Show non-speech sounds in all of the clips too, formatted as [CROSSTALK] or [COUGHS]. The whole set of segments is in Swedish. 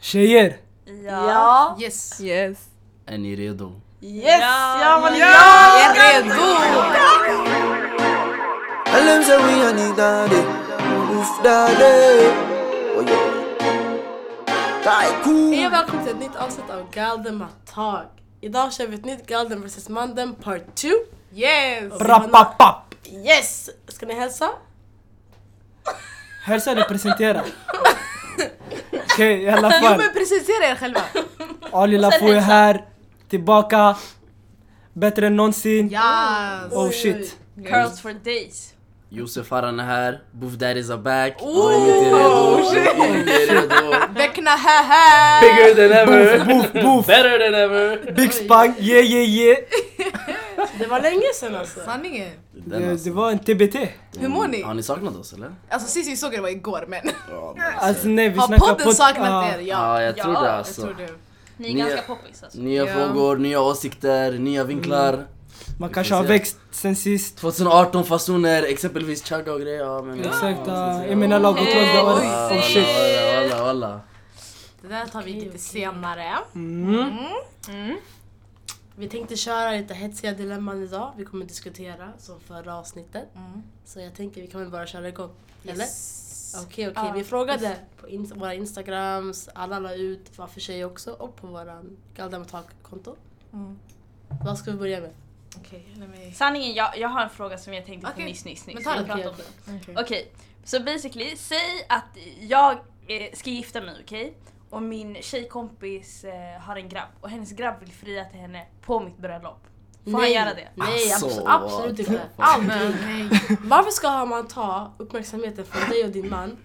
Tjejer! Ja. Yes. Yes. Är ni redo? Yes! Ja, man Jag är redo! Tell them say we a need daddy, oof daddy. Oh yeah. Hej Tycoon. och välkommen till ett nytt avsnitt av Galden Matag. Idag kör vi ett nytt Galden vs Manden Part 2. Yes! Rappapapp! Yes! Ska ni hälsa? Hälsa eller presentera? Okej, i alla Jo fall. men presentera er [LAUGHS] själva! Ali Lafou är här, tillbaka, bättre än någonsin. Yes! Oh shit. Curls for days. Josef Aran är här, Boof Daddies are back. Oh, Är ni inte redo? shit. Är ni inte redo? [LAUGHS] Beckna haha! Bigger than ever! Boof, boof, Better than ever! big spang, yeah yeah yeah. Det var länge sedan alltså. Sanningen! Den Det, alltså. Eh, det var en TBT. Hur mår ni? Mm. Har ni saknat oss eller? Alltså sist vi såg er var igår men Ja, Alltså nej, vi har snackar podden saknat ah, er? Ja, ja jag tror Ja, det jag alltså. tror det. Ni är Ni är- ganska poppis alltså. Nya Ja. frågor, nya åsikter, nya vinklar. Mm. Man kanske har Vi får se. växt sen sist. 2018 fasoner, exempelvis chagga och grejer. Ja, men, Exakt, Ja, ah, jag menar laget Hey, was the oj, one. Oh shit. Walla, walla, walla. Det där tar vi lite senare. Mm. Vi tänkte köra lite hetsiga dilemman idag. Vi kommer diskutera som förra avsnittet. Så jag tänker vi kan väl bara köra igång. Eller? Okej, okej. Ja. Vi frågade på ins- våra instagrams, alla la ut, var för sig också och på våran Galdem konto Mm. Vad ska vi börja med? Okej, let me... Sanningen, jag, jag har en fråga som jag tänkte på Okej. nyss, nyss, nyss. Men ta Vi den. pratar om det. Okej. Okej, så basically, säg att jag eh, ska gifta mig, okej? Och min tjejkompis eh, har en grabb och hennes grabb vill fria till henne på mitt bröllop. Får han göra det? Nej, Alltså, abs- absolut what inte. the Aldrig. Nej. [LAUGHS] Varför ska man ta uppmärksamheten från dig och din man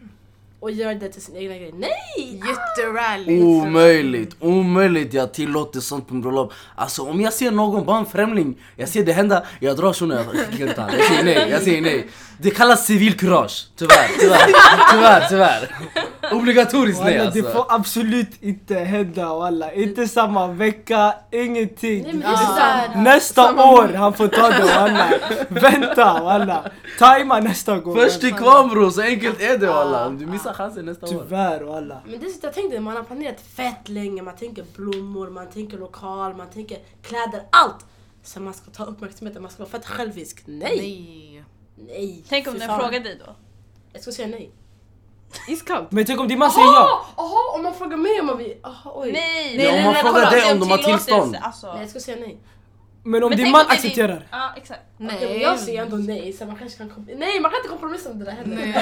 och göra det till sin egna grej? Nej! Jätterally. Omöjligt, omöjligt jag tillåter sånt på min bröllop Alltså om jag ser någon, bara en främling Jag ser det hända, jag drar shunon, jag skickar ut han. Jag säger nej, jag säger nej Det kallas civilkurage, tyvärr, tyvärr, tyvärr, tyvärr Obligatoriskt nej Walla, det får alltså absolut inte hända walla. Inte samma vecka, ingenting. Nej men det Det- är såhär... Nästa år han får ta det walla. Vänta walla. Tajma nästa gång. Först till kvarn bror, så enkelt är det walla Om du missar chansen nästa år Tyvärr walla. Men det är så, jag tänkte, man har planerat fett länge, man tänker blommor, man tänker lokal, man tänker kläder, allt! Så man ska ta uppmärksamheten, man ska vara fett självisk. Nej! Nej. Nej! Tänk om fy den fan. frågar dig då? Jag ska säga nej. Iskallt. Men tänk om din man säger ja. Jaha, om man frågar mig om man vill... Jaha, oj. Nej! Ja, om man frågar kolla, dig det är om de har tillåtelse, tillstånd. Alltså. Nej, jag ska säga nej. Men om Men din tänk man det är accepterar. Din... Ja, exakt. Nej. men jag säger ändå nej, så man kanske kan kompromissa. Nej, man kan inte kompromissa om det där heller. Nej.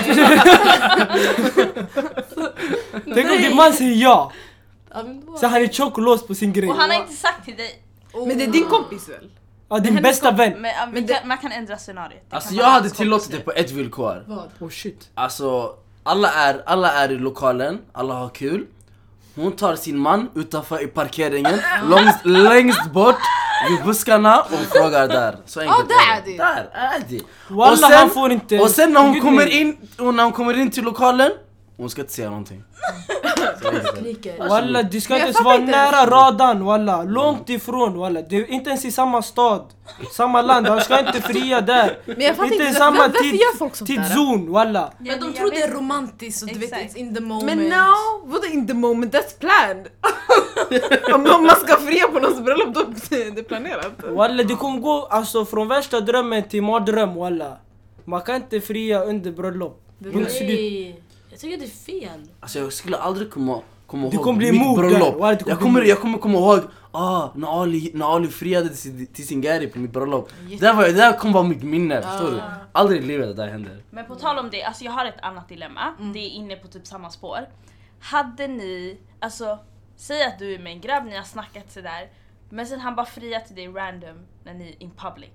Tänk om din man säger ja. [LAUGHS] Ja, men då- Så han är tjock och låst på sin grej. Och han har inte sagt till dig. Men det är din kompis väl? Ja, din bästa vän. Men, ja, vi Men det- kan, man kan ändra scenariot. Det Alltså kan jag man hade också tillåtit komma det på ett villkor Vad? Oh shit. Alltså, alla är, alla är i lokalen, alla har kul Hon tar sin man utanför i [LAUGHS] parkeringen, långst, längst bort vid buskarna och frågar där Så enkelt där är det. Där är det! Wallah, han får inte- och sen när hon Gud, kommer nej. in, och när hon kommer in till lokalen Hon ska inte säga [LAUGHS] någonting Så enkelt är det. Skriker. Walla du ska inte Alltså, Men jag ens fattar vara inte. nära radan walla. Långt ifrån walla. Du är inte ens i samma stad. Samma land. Han ska inte fria där. [LAUGHS] Men jag fattar Inte inte, ens samma varför tid, gör folk sånt där? tidszon walla. Ja, Men de jag tror det vet är romantiskt och du vet Exakt. it's in the Oh moment. Men now, vadå in the moment? That's planned! [LAUGHS] Om någon man ska fria på någons bröllop, då är det planerat. Walla du kommer gå alltså, från värsta drömmen till mardröm walla. Man kan inte fria under bröllop. Punkt slut. Nej. Jag tycker det är fel. Alltså jag skulle aldrig komma, komma Du ihåg kommer bli mitt moder, bröllop Walid, du kommer jag, bli kommer, moder. jag kommer komma ihåg ah, när, Ali, när Ali friade till, sin- till sin gäri på mitt bröllop Det där, var, det där kommer vara mitt Ah. minne, förstår du? Aldrig i livet det där händer Men på tal om det, alltså jag har ett annat dilemma. Mm. Det är inne på typ samma spår. Hade ni, alltså säg att du är med en grabb, ni har snackat sådär. Men sen han bara friar till dig random när ni är in public.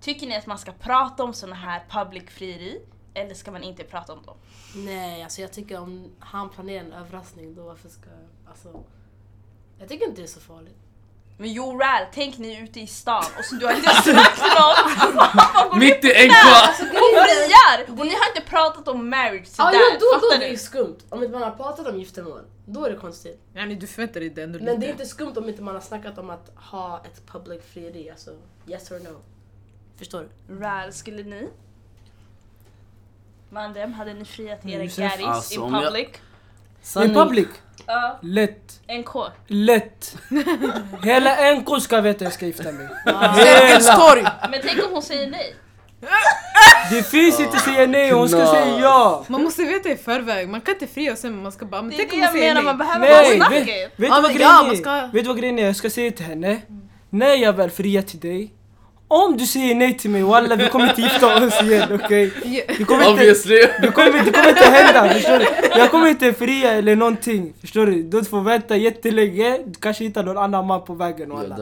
Tycker ni att man ska prata om såna här public frieri? Eller ska man inte prata om dem? Nej, alltså jag tycker om han planerar en överraskning då varför ska... Alltså, jag tycker inte det är så [LAUGHS] farligt. Men jo Ral, tänk ni är ute i stan och så du [LAUGHS] har inte sagt till någon. Vad går ni Mitt i där? NK! Alltså, Hon friar! Och ni har inte pratat om marriage sådär, Ja, ja, då, då fattar är det ju du? skumt. Om inte man har pratat om giftermål, då är det konstigt. Yani, du förväntar dig det ändå Men det är inte skumt om inte man har snackat om att ha ett public frieri. Alltså, yes or no. Förstår du? Ral, skulle ni? Mandem, hade ni friat era Josef, garris alltså, in om jag- public? I public? Ja, Lätt. NK. Lätt. Hela NK ska veta jag ska gifta [LAUGHS] mig. Sergels Hela. torg! Men tänk om hon säger nej? Det finns inte säga nej, hon ska Knas. säga ja. Man måste veta i förväg, man kan inte fria och sen man ska bara men Det är tänk det om hon jag säger menar, nej. man behöver Nej, bara vet, snacket. vet Ja, du vad men grejen ja, är? man ska- Vet du vad grejen är? Jag ska säga till henne, när jag väl friar till dig, om du säger nej till mig walla vi kommer inte gifta oss igen okej? Ja. Det kommer inte- Det kommer, det kommer inte hända, förstår du? Jag kommer inte fria eller någonting, förstår du? Du får vänta jättelänge, du kanske hittar någon annan man på vägen och alla.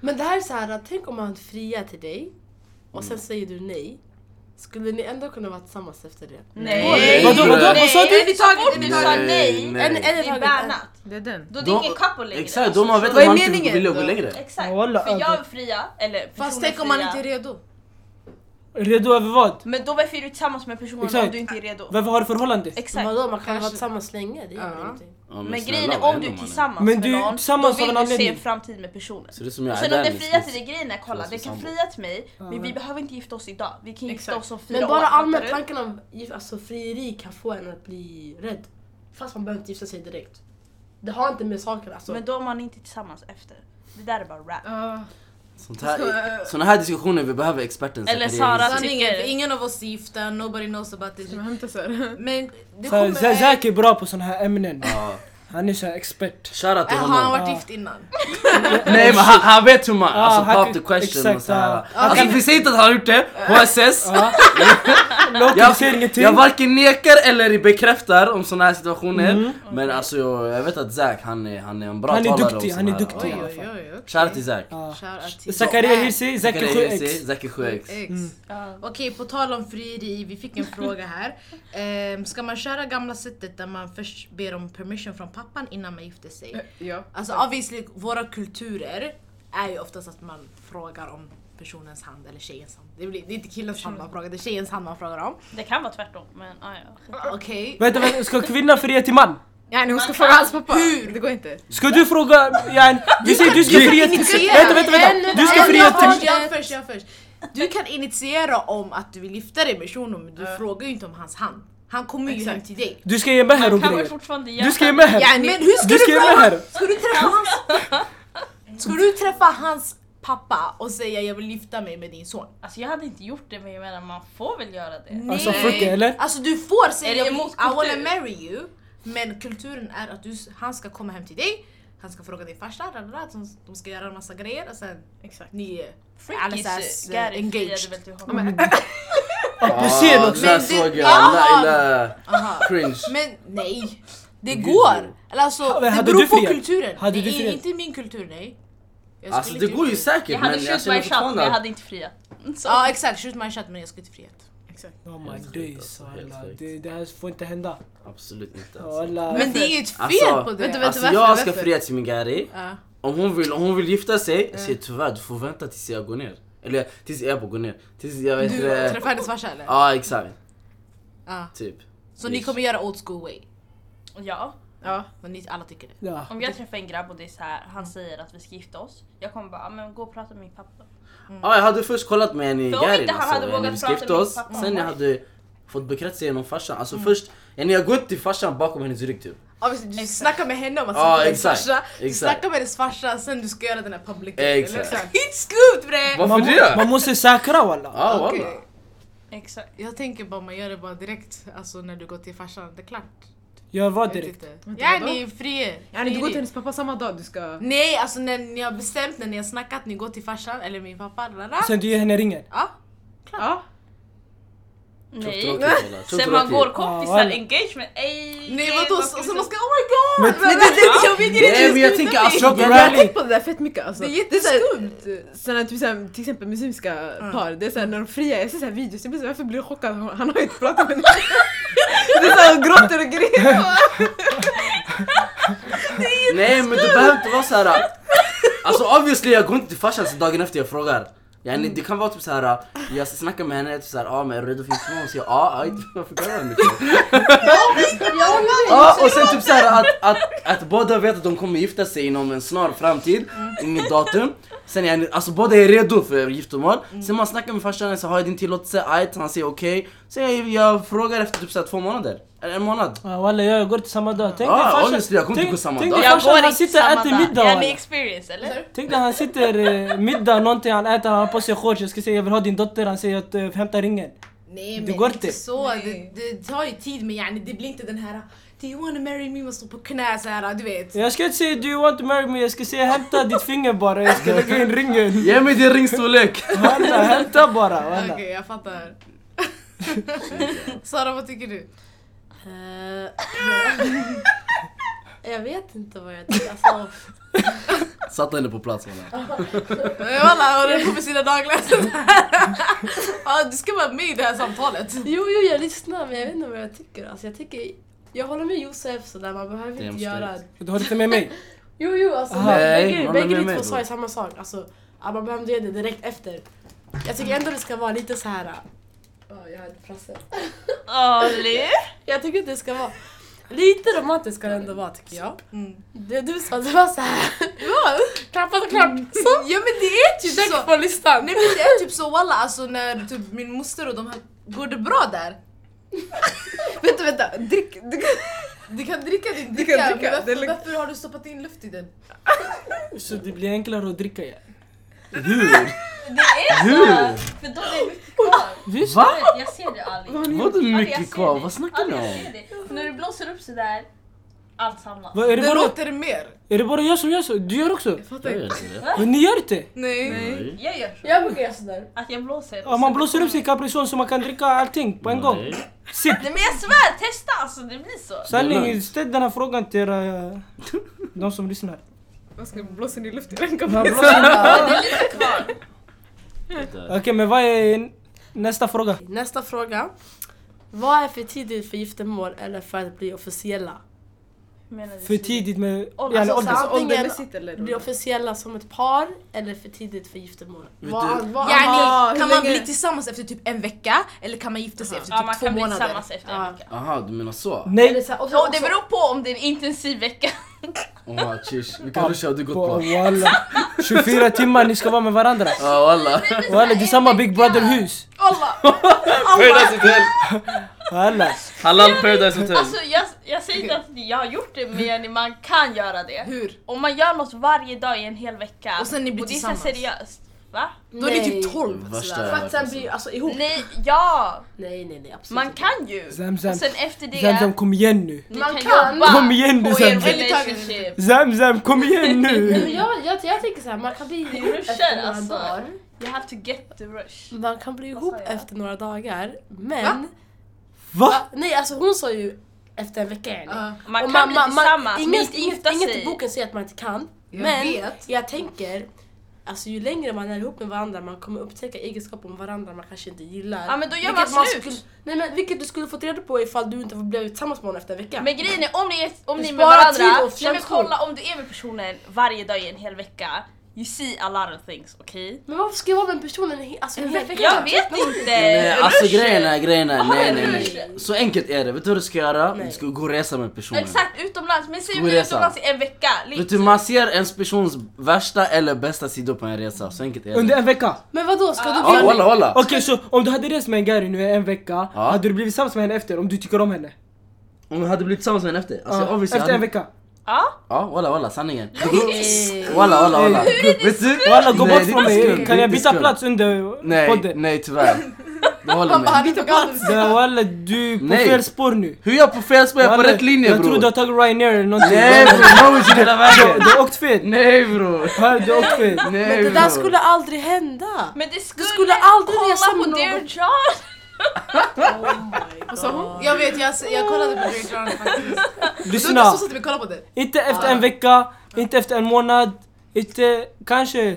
Men det här är så här, tänk om han friar till dig och Mm. sen säger du nej. Skulle ni ändå kunna vara tillsammans efter det? Nej! Vadå, vadå, vad sa du? Nej, Så fort du sa nej, Nej. En, en, det en, är bannat. Det är den. Då är det Då- ingen couple längre. Exakt, då man vet Vad att är man inte meningen vill gå då? längre. Exakt. Walla, För jag över. är fria, eller Fast personen tänk om man fria. inte är redo? Redo över vad? Men då varför är du tillsammans med personen Exakt. om du inte är redo? Varför har du förhållande? Exakt. Vadå, man kan Kanske- vara tillsammans länge, det gör Ja. ingenting. Ja, Men snälla, grejen är vad om du är händer, mannen? tillsammans Men med du är någon, tillsammans då av vill en du se en anledning. framtid med personen. Ser ut som jag är Sen om där den liksom. friar till dig, grejen är kolla, Kallas den för kan sambo. fria till mig men vi behöver inte gifta oss idag. Vi kan gifta Exakt. oss om fyra Men år. bara fattar allmänt du? tanken om gif- alltså, frieri kan få en att bli rädd. Fast man behöver inte gifta sig direkt. Det har inte med saken alltså. Men då är man inte tillsammans efter. Det där är bara rap. Ah. Sånt här, såna här diskussioner, vi behöver experten Eller Zakaria. Sara. Jag Sanningen, tycker- för ingen av oss är gifta, nobody knows about this. Ska man hämta så här? Men det Så här, kommer... Zä- Zack är bra på såna här ämnen. Ja. Han är så här expert. Shoutout Äh, till Har han honom. varit gift innan? Nej men han, han vet hur man, Ja, alltså Ah, han- pop the question och exakt, så här. ja. Alltså vi säger inte att han har gjort det, HSS. [LAUGHS] Låter säger ingenting. jag varken nekar eller bekräftar om såna här situationer. Men alltså jag, jag vet att Zack han är, han är en bra Mm. Han är talare duktig, om han är såna här. duktig. Oj Ja. oj oj. okej. Shoutout till Zack. Ja. Shoutout till- Zakaria Hirsi, Zack är Zakaria 7x. Hirsi, Zack är 7x. Ex. Mm. Okej, på tal om frieri, vi fick en fråga [LAUGHS] här. Ehm, ska man köra gamla sättet där man först ber om permission från pappan innan man gifter Eh, sig? Ja. Alltså obviously, våra kulturer är ju oftast att man frågar om personens hand eller tjejens hand. Det, blir, det är inte killens hand man frågar, det är tjejens hand man frågar om. Det kan vara tvärtom men ah, ja. Okej. Vänta, vänta, ska kvinnan fria till man? Ja, nej, hon ska fråga hans pappa. Hur? Det går inte. Ska du fråga, yani, vi säger du ska Du- fria till... Vänta, vänta, vänta! Du ska Nej, fria jag först, till... jag först, jag först. Du kan initiera om att du vill gifta dig med shunon men du Eh. frågar ju inte om hans hand. Han kommer ju hem till dig. Du ska ge med här och Man kan väl grejer. fortfarande Du ska ge göra med här. Men hur ska Du du, ska ge med fråga? här. Ska du träffa hans... [LAUGHS] Ska du träffa hans pappa och säga jag vill gifta mig med din son? Alltså jag hade inte gjort det men jag menar man får väl göra det. Alltså Nej. fuck it, eller? Alltså du får Är säga det jag vill, emot I wanna kultur? marry you men kulturen är att du, han ska komma hem till dig, han ska fråga din farsa, da, da, da, de, de ska göra en massa grejer och sen Exakt. ni är Freakish alldeles ass, eh, Gary friade engaged. väl till honom. Applicer det också. Ah, där Men det- såg Aha. jag, la illa. Aha. Cringe. Men [LAUGHS] nej, det Gud, går! Eller alltså, men det hade beror du på friat? kulturen. Hade det du är friat? inte min kultur, nej. Jag Alltså skulle det inte går ju gjort säkert Jag men hade alltså, jag shoot känner my shot fortfarande men jag att hade inte friat. Så. Ja exakt, shoot my shot men jag skulle inte friat. Oh my Helt sjukt days, alltså, helt alla. sjukt. Det, det här får inte hända. Absolut inte alltså. Alla. Men det är inget fel Alltså, på det. vänta, vänta. Alltså varför, jag varför? ska fria till min gari. Ja. Om hon vill, om hon vill gifta sig, jag säger tyvärr du får vänta tills jag går ner. Eller tills jag går ner. Tills jag vet... Du eh, träffade hennes farsa eller? Ja exakt, Ja. typ. Så ni kommer göra old school way? Ja. Ja. Och ni alla tycker det? Ja. Om jag träffar en grabb och det är så här, han säger att vi ska gifta oss. Jag kommer bara, "Ah, men gå och prata med min pappa. Mm. Ja jag hade först kollat med en i För om garin inte han hade alltså, när vågat vi prata skrev med oss. min pappa. Mm. Sen jag hade fått bekräftelse genom farsan. Alltså först, jag har gått till farsan bakom hennes rygg typ. Obviously, du snackar med henne om att Ja, snacka med hennes exakt, farsa, du exakt. snackar med hennes farsa sen du ska göra den här public Exakt. It's good bre! Varför Man, må- man det? måste säkra walla. Ja Okej. walla. Exakt. Jag tänker bara man gör det bara direkt, alltså när du går till farsan, det är klart. Gör Jag vad vet direkt? inte. Ja ni är fria. Ja, nej, du går till hennes pappa samma dag du ska... Nej alltså när ni har bestämt, när ni har snackat, ni går till farsan eller min pappa. da, da, da. Sen du ger henne ringen. Ja, Ja. Nej. Sen Sen man går Ja, kompisar, alla. engagement, ey! nej ey, vadå? vad Och ska vi sen ta- man ska oh my god! Men- men, det, det, jag vet inte Nej men hur jag det tänker slutar. [LAUGHS] alltså Jag jag har tänkt på det där fett mycket alltså. Det är jätteskumt! Såna, typ, såhär, till exempel muslimska par, det är såhär, när de friar, jag ser såhär videos, jag blir såhär, varför blir du chockad? Han, han har ju inte pratat med [LAUGHS] någon. Det är såhär, gråter och grejer. Nej men det behöver inte vara såhär Alltså obviously jag går inte till farsan så dagen efter jag frågar Yani, det kan vara typ såhär, jag snackar med henne typ såhär, ah, men är du redo för giftermål? Hon säger ja, ah, [LAUGHS] varför kan jag inte? Ja och sen typ såhär att, att, att båda vet att de kommer gifta sig inom en snar framtid, inget datum Sen yani, alltså båda är redo för giftermål Sen man snackar med farsan, så har jag din tillåtelse? Ajt, han säger okej Sen jag, jag frågar efter typ såhär två månader Eller en månad. Ja, Walla jag går till samma dag. Tänk Ja, dig farsan- honestly, Ah, jag kommer inte tänk- gå samma tänk dag. dig Jag farsan, går han inte sitter och samma äter middag. dag. Är liksom- ni walla. experience eller? Tänk dig han sitter eh, middag, någonting han äter, han har på sig shorts. Jag ska säga jag vill ha din dotter, han säger att eh, hämta ringen. Nej men Det går inte inte. så, det, Nej. det tar ju tid men yani, det blir inte den här Do you wanna marry me? Man står på knä såhär, du vet. Jag ska inte säga do you want to marry me, jag ska säga hämta ditt finger bara. Jag ska lägga in ringen. Ge mig din ringstorlek! Walla, hämta bara. Okej, Walla. jag fattar. [LAUGHS] Sara, vad tycker du? Eh, [LAUGHS] jag vet inte vad jag tycker. Alltså, Satte henne på plats mannen. Walla, håller på med sina dagläsare. ja, du ska vara med i det här samtalet. jo, jo, jag lyssnar men jag vet inte vad jag tycker. Alltså, jag, tycker jag håller med Josef sådär, man behöver inte Damn göra... straight. Du håller inte med mig? Jo, jo, alltså Aha. Nej, bägge- man håller bägge med ni mig två då. sa ju samma sak. Alltså, att man behövde göra det direkt efter. Jag tycker ändå det ska vara lite så här. Ja, jag hade fraser. Ali? Jag tycker att det ska vara lite romantiskt ska det ändå vara tycker jag. Det du sa, det var såhär. Klappat och klart. Så, Ja men det är typ så. check på listan. Nej men det är typ så walla alltså när typ min moster och de här, går det bra där? [LAUGHS] Vänta, vänta, drick, drick. Du kan dricka Du din dricka, kan dricka, men det är varför, lugnt. varför har du stoppat in luft i den? Så det blir enklare att dricka ja. Hur? Det är så! För då är det mycket kvar. Visst? Va? Jag ser det Ali. Vadå Ali, Alltså, jag mycket ser Alltså, kvar? dig. Vad snackar ni Ali, jag ser om? dig. För När du blåser upp sådär, allt samlas. Va, är, det Det bara, låter mer. är det bara jag som gör så? Du gör också? Jag gör inte det. Men ni gör inte? Nej. Nej. Jag gör så. Jag brukar göra sådär. Att jag blåser. Ja, man blåser upp sig i Capricon så man kan dricka allting på en gång. Nej. Sitt! Nej men jag svär, testa alltså det blir så. Det är Sanning, lugnt. ställ den här frågan till era, de som lyssnar. Vad ska blåsa ner luft i den Man kompisen? blåser- Där. Okej, men vad är nästa fråga? Nästa fråga. Vad är för tidigt för giftermål eller för att bli officiella? Menar du För så? tidigt med... Ålder. Yani Alltså, ålder. så antingen åldermässigt eller? bli officiella som ett par eller för tidigt för giftermål. Vet Vad- du, vad- ah, Yani, hur kan man länge- bli tillsammans efter typ en vecka eller kan man gifta sig efter Ja typ man två kan bli månader? tillsammans efter Ja. en vecka. aha du menar så? Eller Nej! så här, och så, Ja, och det så, beror på om det är en intensiv vecka. Oha chish, vilka ruscher har du gått på? Walla. 24 timmar ni ska vara med varandra. [LAUGHS] Ja walla. Walla, det är samma Big Brother-hus. Paradise hotel! Walla. Halal paradise hotel! Alltså jag, jag säger inte att jag har gjort det men yani, man kan göra det. Hur? Om man gör något varje dag i en hel vecka Och sen ni blir och det är så här tillsammans. seriöst. Va? Då är ni typ Nej. 12 Värsta För sådär. att sen bli alltså, ihop. Nej, ja! Nej, nej, nej. Absolut Man inte. kan ju! Zamzam. Och sen efter det, Zamzam, kom igen nu. ni Man kan, kan. jobba Kom igen nu, på er Zamzam. relationship. Zamzam, kom igen Nej, nu! men jag, jag, jag tänker såhär, man kan bli ihop efter Ruschen, några alltså. dagar. You have to get the rush. Man kan bli ihop sa jag? efter några dagar, men... Va? Va? Ah, Nej, alltså hon sa ju efter en vecka. eller? Ah. Ja. Man Och kan bli tillsammans men inget, inte inget, gifta inget i sig. typ boken säger att man inte kan. Jag men vet. jag tänker, alltså ju längre man är ihop med varandra man kommer upptäcka egenskaper om varandra man kanske inte gillar. Ja, men då gör Vilket man slut. Skulle, nej men vilket du skulle fått reda på ifall du inte blev tillsammans med honom efter en vecka. Men grejen är om ni är, om ni är med Spara tid varandra, och nej men känslor. kolla om du är med personen varje dag i en hel vecka, you see a lot of things, okej? Men varför ska jag vara med en person en, he- alltså, en hel vecka? Jag vet Nej, inte! alltså Rushen. grejen är, grejen är, Har nej en nej nej. rush. Så enkelt är det, vet du vad du ska göra? Nej. Du ska gå och resa med personen. Exakt, utomlands. Men säg Ska vi vi är resa? utomlands i en vecka. Vet du, liksom. man ser ens persons värsta eller bästa sidor på en resa, så enkelt är Under det. en vecka? Men vadå, ska Ja du bli... walla walla! Okej, så om du hade rest med en Gary nu i en vecka, hade du blivit tillsammans med henne efter om du tycker om henne? Om jag hade blivit tillsammans med en efter, alltså Ja, obviously efter en hade- vecka? Ja, Ja walla walla, sanningen. Nej. Walla walla walla. Hur Vet du? Eh, Walla gå Nej, bort det är från inte skumt, mig, det kan är jag inte byta skumt. plats under Nej, podden? nej tyvärr. Du håller med. Byta plats! Det- Walla du är på Nej. fel spår nu. Hur är jag på fel spår? Jag är på Walla, rätt linje Jag tror bror. du har tagit Ryanair eller någonting. Nej bror, no shit hela Du- vägen. Du har åkt fel. Nej bror. Hör, Du har åkt fel. Nej Men det bror. där skulle aldrig hända! men det skulle... skulle aldrig kolla resa med på Dear någon. John! Vad sa Alltså, hon? Jag vet, jag, jag kollade på Drake Run faktiskt. Det var Lyssna. inte så att vi kollade på det. Inte efter Ah. en vecka, inte efter en månad, inte kanske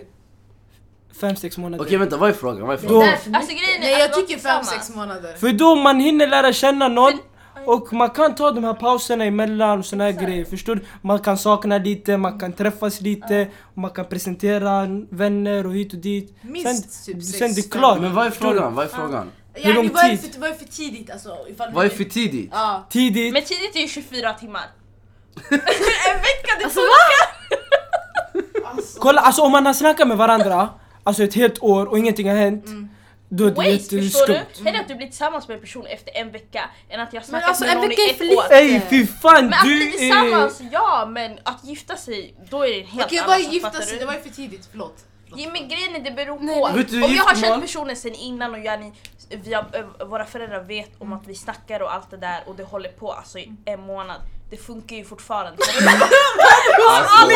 fem, sex månader. Okej vänta, vad är frågan? Vad är Då, frågan? Alltså grejen är Nej att jag vara tycker fem tillsammans. sex månader. för då man hinner lära känna någon och man kan ta de här pauserna emellan och såna här grejer, förstår du? Man kan sakna lite, man kan träffas lite, Ah. och man kan presentera vänner och hit och dit. Minst typ sex, sen det är klart. Men vad är frågan? Vad är frågan? Hur lång Yani, vad, är tid? för, vad är för tidigt alltså? Ifall Vad är för tidigt? Ja. Tidigt. Men tidigt är ju 24 timmar. en vecka, det funkar! Kolla, alltså om man har snackat med varandra, alltså ett helt år och ingenting har hänt. Då är det Waste, förstår du? jätteskumt. Hellre att du blir tillsammans med en person efter en vecka än att jag har Men snackat alltså med en någon i vecka är ett för år. lite. Ey fy fan Men alltså, att du bli är... tillsammans, ja men att gifta sig, då är det en helt Man kan ju bara annan sak, gifta fattar sig, du? det var ju för tidigt, förlåt. Ja, men grejen är det beror på. Vet du, om jag har gift man- känt personen sen innan och yani, vi har, ö, våra föräldrar vet om att vi snackar och allt det där och det håller på alltså i en månad. Det funkar ju [LAUGHS] fortfarande. Alltså,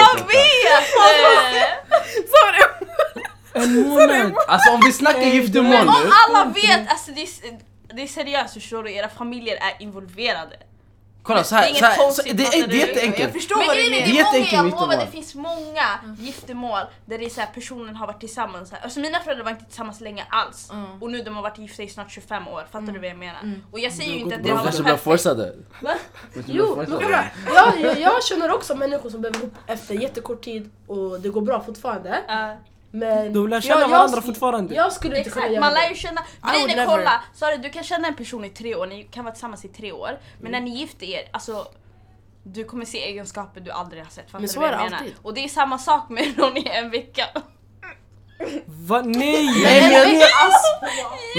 Eh, En månad! alltså om vi snackar giftermål om nu, alla vet, alltså det är, s- det är seriöst förstår du, era familjer är involverade. kolla så här, inget så här så, konstigt, det, är, fattar det är du? Jag jätteenkelt. förstår Men vad du grejen är, menar. det Det är är många, jag jätteenkelt lovar, det giftermål. finns många giftermål där det är så här, personen har varit tillsammans. Så här. Alltså mina föräldrar var inte tillsammans länge alls. Och nu de har varit gifta i snart 25 år, fattar du vad jag menar? Och jag säger ju inte att det De har kanske varit blir perfekt. forcade. Va? Kanske blir Jo, men forcade. kolla. jag, jag, jag känner också människor som behöver ihop efter jättekort tid och det går bra fortfarande. Ja. Men De lär känna jag, varandra jag, fortfarande. Jag skulle inte kunna Exakt, göra man lär det. ju känna. would Grejen är never. kolla, sorry, du kan känna en person i tre år, ni kan vara tillsammans i tre år. Men när ni gifter er, alltså du kommer se egenskaper du aldrig har sett. Fattar Men du så vad är jag det menar? alltid. Och det är samma sak med [LAUGHS] någon i en vecka. Va? Nej! Nej, men jag-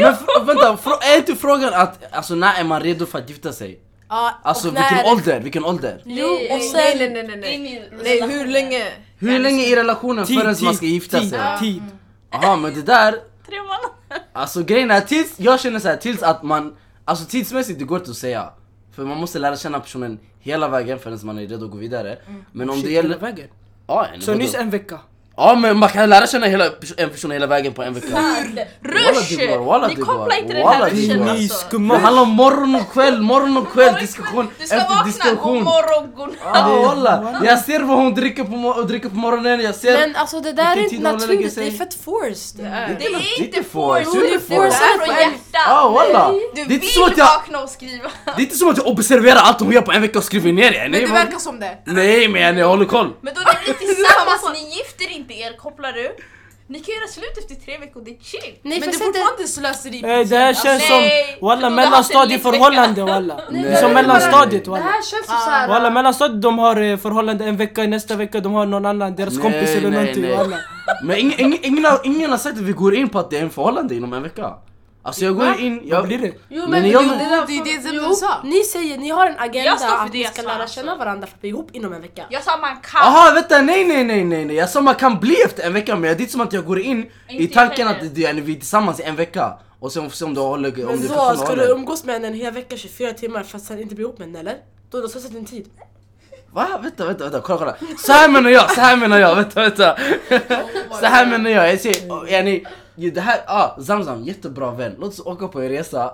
Men fr- vänta, frå- är inte frågan att alltså, när är man redo för att gifta sig? Ja, Alltså och när- vilken ålder, vilken ålder? Jo, och Nej, sen- nej, nej, nej, nej. in i Nej, hur relationen. länge? Hur länge i relationen Tid, förrän man ska tid, gifta tid, sig? Tid. Jaha men det där, Tre månader. alltså grejen är tills, jag känner så här, tills att man, alltså tidsmässigt det går inte att säga För man måste lära känna personen hela vägen förrän man är redo att gå vidare Men om Shit, det hela gäller, vägen. ja, en- Så vadå? nyss en vecka. ja men man kan lära känna hela, pers- en person hela vägen på en vecka Rush! det går, walla, Ni det kopplar går, inte den här walla, det ruschen går. Ni alltså. Det skumma. handlar om morgon och kväll, morgon och kväll, diskussion Du ska efter vakna, god diskussion morgon, god natt. Ja walla, jag ser vad hon dricker på, mo- och dricker på morgonen, jag ser Men alltså det där är Vilken inte tid de håller naturligt, sig. det är fett forced. Det är Det är inte inte force, force, det är du inte får det force. här från Ja hjärtat. walla! Du Det är vill inte som att jag, vakna och skriva. det är inte som att jag observerar allt hon gör på en vecka och skriver ner det! Men Nej, det vad- verkar som det. Nej men jag håller koll! Men då ni [LAUGHS] blir tillsammans, ni gifter inte er, kopplar du? Ni kan göra slut efter tre veckor, det är chill. Nej, Men det är för sättet- fortfarande slöseri. Nej det här känns som Nej. walla Du har haft en mellanstadieförhållande walla. Nej, Det det är är Som bara- mellanstadiet Det walla. här känns som såhär... Walla mellanstadiet de har eh, förhållande en vecka, nästa vecka de har någon annan, deras Nej, kompis eller nej, någonting nej. walla. Men ingen, ingen, ingen, har, ingen har sagt att vi går in på att det är en förhållande inom en vecka Alltså jag går in, Vad jag... blir det? Jo, Men men, jag- jo, Det där- är det som jo, du alltså, sa. Ni säger, ni har en agenda Jag står för att det ni jag ska sa, lära alltså. känna varandra för att bli ihop inom en vecka. Jag sa man kan. Aha, vänta nej nej nej nej nej jag sa man kan bli efter en vecka men det är inte som att jag går in i Inte tanken heller. att det är, vi är tillsammans i en vecka och sen får vi se om du håller, om Men du så, fortfarande ska du håller umgås med henne en hel vecka, 24 timmar, fast sen inte bli ihop med henne eller? Då har du slösat din tid. Va? Vänta vänta vänta, kolla kolla Så här menar jag, så här menar jag, vänta Oh vänta Så här menar jag, jag ser, oh, är ni, det här, ah, Zamzam, jättebra vän, låt oss åka på en resa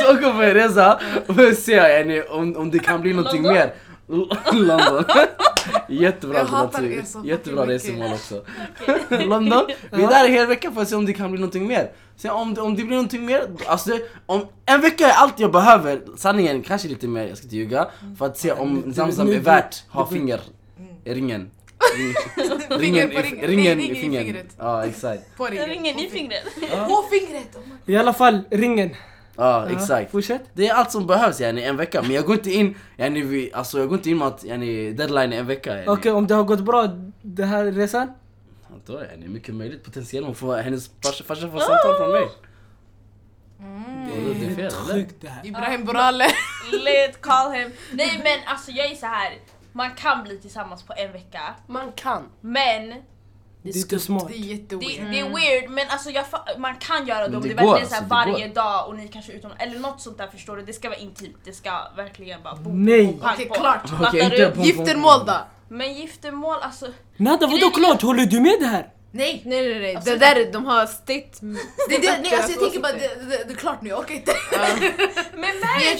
Så åka på en resa och se yani, om, om det kan bli någonting mer L- London [LAUGHS] Jättebra Jag hatar alternativ, resor, jättebra fucking resemål mycket. också [LAUGHS] London, vi är där en hel vecka för att se om det kan bli någonting mer Sen om, det- om det blir någonting mer, alltså det, om en vecka är allt jag behöver, sanningen kanske lite mer, jag ska inte ljuga För att Mm. se om Zamzam är värt ha finger i [LAUGHS] ringen Mm. Ringen, i, på ringen. ringen Nej, i ring i fingret. fingret. Ja [LAUGHS] exakt. På ringen. Ringen i fingret. På fingret! I alla fall ringen. Ja exakt. Fortsätt. Det är allt som behövs yani en vecka men jag går inte in yani vi, alltså jag går inte in med att yani deadline är en vecka yani. Okej om det har gått bra den här resan? Då är yani mycket möjligt potentiellt hon får hennes farsa, farsa får samtal från mig. Mm. Det är fel eller? Sjukt det här. Ibrahim Borale. Let call him. Nej men alltså jag är så här. man kan bli tillsammans på en vecka. Man kan. Men Det är inte smart. Det är det, jätteweird. det är weird men alltså jag, fa- man kan göra det om Mm. Men det, det går, verkligen är så här alltså, det varje dag och ni kanske utom eller något sånt där förstår du. Det ska vara intimt, det ska verkligen bara bo. Nej! pang Okej, på. klart. Fattar [LAUGHS] Okej, inte du? på- Giftermål då? Men giftermål alltså, Nada vadå klart? Håller du med det här? Nej! Nej nej nej, Alltså, det där de har [LAUGHS] state... Det, det, nej alltså jag tänker bara, det, det, det är klart nu, jag orkar inte. men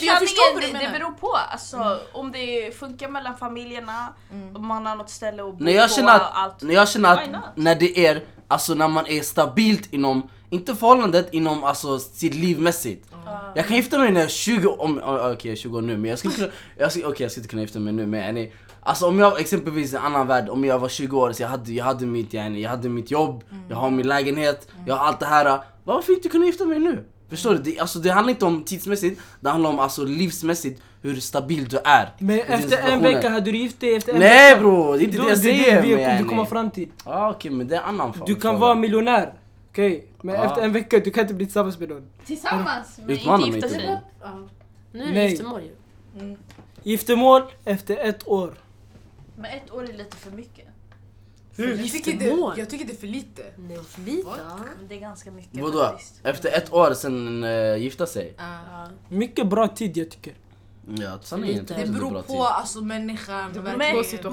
jag förstår vad du sanningen det, det menar. beror på alltså om det funkar mellan familjerna, om man har något ställe att bo När jag på känner och allt. att, när jag känner Why not? att, när det är, alltså när man är stabilt inom, inte förhållandet, inom alltså sitt livmässigt. Jag kan gifta mig när jag är 20, om, oh, okej jag är 20 år nu men jag skulle kunna, jag skulle, okej jag skulle inte kunna gifta mig nu men yani, Alltså om jag exempelvis i en annan värld, om jag var 20 år så jag hade, jag hade mitt yani, jag hade mitt jobb, Mm. jag har min lägenhet, jag har allt det här. Varför inte kunna gifta mig nu? Förstår du? Det, alltså det handlar inte om tidsmässigt, det handlar om alltså livsmässigt hur stabil du är. Men i din efter en situation. vecka hade du gift dig efter en vecka? Nej bro, det är inte Då- det jag det- det- säger vi- men Vi yani. kommer fram till. Ja ah, okej men det är en annan fråga. Du kan vara miljonär, Okej, men Ja. efter en vecka, du kan inte bli tillsammans med någon. Tillsammans! Mm. Men Utmana inte mig typ. gifta inte sig. dig. Ja. Nu är det Nej. giftermål ju. Giftermål efter ett år. Men ett år är lite för mycket. Jag tycker, Giftermål? det, jag tycker det är för lite. Nej, för lite. Men Mm. Det är ganska mycket Vadå? faktiskt. Efter ett år sen eh, gifta sig? Mycket bra tid jag tycker. Ja, sanningen. Det beror på typ. alltså människan. Men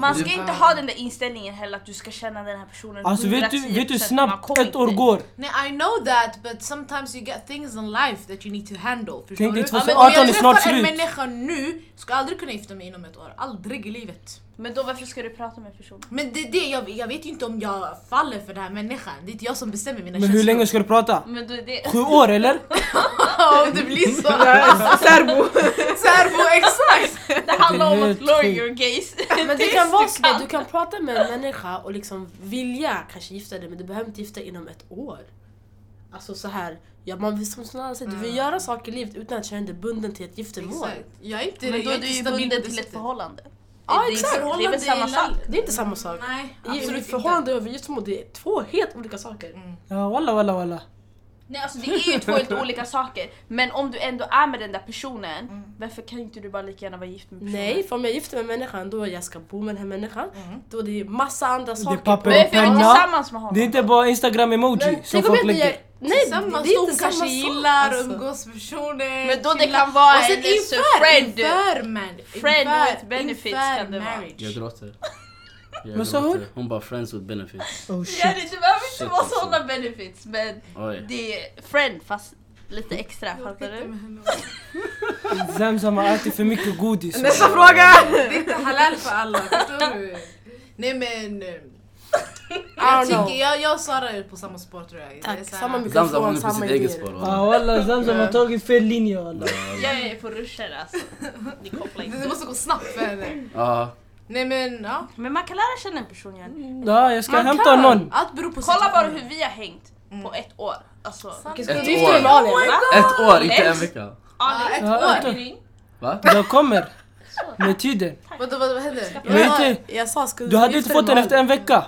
man ska inte ha den där inställningen heller att du ska känna den här personen Alltså vet du, 110%, vet du hur man snabbt kommer ett år inte- går? Nej I know that but sometimes you get things in life that you need to handle. Förstår Tänk dig du? två- Ja, men men om 18 är jag snart träffar en slut. människa nu, ska jag aldrig kunna gifta mig inom ett år. Aldrig i livet. Men då varför ska du prata med personen? Men det, det, jag, jag vet ju inte om jag faller för den här människan. Det är inte jag som bestämmer mina Men hur länge ska du prata? Men då är det... [LAUGHS] Sju år eller? Ja, om det blir så. Ja, Serbo! Serbo, [LAUGHS] exakt! Det handlar om att helt lower sjukt. your gaze. [LAUGHS] Men det Tills kan vara du så där, du kan prata med en människa och liksom vilja kanske gifta dig men du behöver inte gifta dig inom ett år. Alltså så här, ja, man vill som Sanna säger, du vill göra saker i livet utan att känna dig bunden till ett giftermål. Exakt. Jag är inte, Men då jag är inte du ju stabil på bunden det till ett sättet. förhållande. Ja, Det är- exakt. Det är väl Förhållande samma i sak? Det är inte samma sak. Nej, I absolut inte. förhållande och giftermål, det är två helt olika saker. Ja walla walla walla. Nej alltså det är ju två helt olika saker. Men om du ändå är med den där personen, varför kan inte du bara lika gärna vara gift med personen? Nej, för om jag gifter mig med människan då jag ska bo med den här människan. Då det är massa andra saker. papper på- och Varför är du Penna. tillsammans med honom? Det är inte bara instagram-emoji som Tänk om folk jag inte lägger. gör... Nej, det Tillsammans, är inte de kanske samma gillar, sak. Alltså. umgås med personer. Men då det chillar. kan vara Och sen en inför, friend. inför man. Friend inför, with benefits inför kan det vara. marriage. Jag [LAUGHS] gråter. Jag Vad sa hon? gråter. Hon bara friends with benefits. Oh Ja, shit. det det behöver inte Shit, vara alltså. sådana benefits men Oj. det är friend fast lite extra, fattar du? Zamzam har ätit för mycket godis. [LAUGHS] Nästa fråga! Det är inte halal för alla, förstår du? Nej men... eh, don't Jag, know. tycker, jag, jag och Sara är på samma spår tror jag. Tack, Det är så här- samma Zamzam hon mikrofon, är på sitt samma eget idéer. spår. Ja walla. walla Zamzam har tagit fel linje walla. Jag är på ruscher alltså. Ni kopplar Det inte. måste gå snabbt för henne. Ja. Nej men ja. [LAUGHS] Men man kan lära känna en person igen. Ja jag ska Man hämta kan. någon. Allt beror på Kolla bara situationen. hur vi har hängt på ett år. Alltså, Okej, ska Ett du gifta dig med år. Oh Alin? Ett år, inte en Nej. vecka. ja, Ja, ett Ja, år. Ah, ett år. Va? Jag kommer. Med tiden. Vadå vad, vad hände? Men inte, Jag sa, ska du hade inte gifta dig fått den med efter en vecka.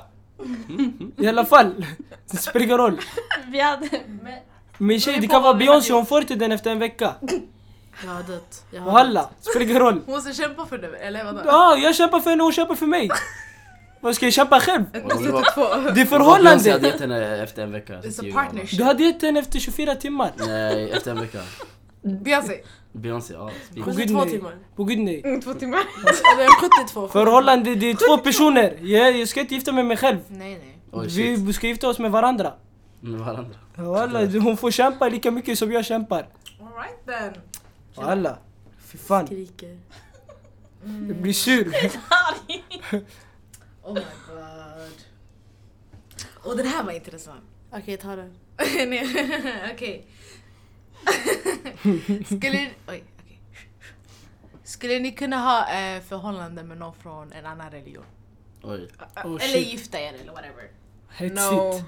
I alla fall. Det spelar ingen roll. vi hade... Men, Min tjej, det kan vara Beyoncé, hon får inte den efter en vecka. Jag har dött. Jag har dött. Walla, det spelar ingen roll. Hon måste [LAUGHS] kämpa för det eller vadå? Ja, jag kämpar för henne, hon kämpar för mig. Vad ska jag kämpa själv? Hon var- Det är Beyoncé hade förhållande. gett henne efter en vecka. så It's a skriver jag bara. partnership. Du hade gett henne efter 24 timmar. Nej, efter en vecka. Beyoncé. Beyoncé, ja. speak. På gud 72 nej. timmar. På gud nej. Mm, Två timmar. Eller 72. Förhållande, det är två personer. Jag, jag ska inte gifta mig med mig själv. Nej nej. Oj Oh, shit. Vi ska gifta oss med varandra. Med varandra. Walla, hon får kämpa lika mycket som jag kämpar. Alright then. Walla. Fy fan, Skriker. jag blir [LAUGHS] sur. Oh my god. Och den här var intressant. Okej, ta den. [LAUGHS] Nej, Okej. [LAUGHS] Skulle... Oj, okej. Skulle ni kunna ha eh, förhållande med någon från en annan religion? Oj. Oh eller shit, gifta er eller whatever. hetsigt.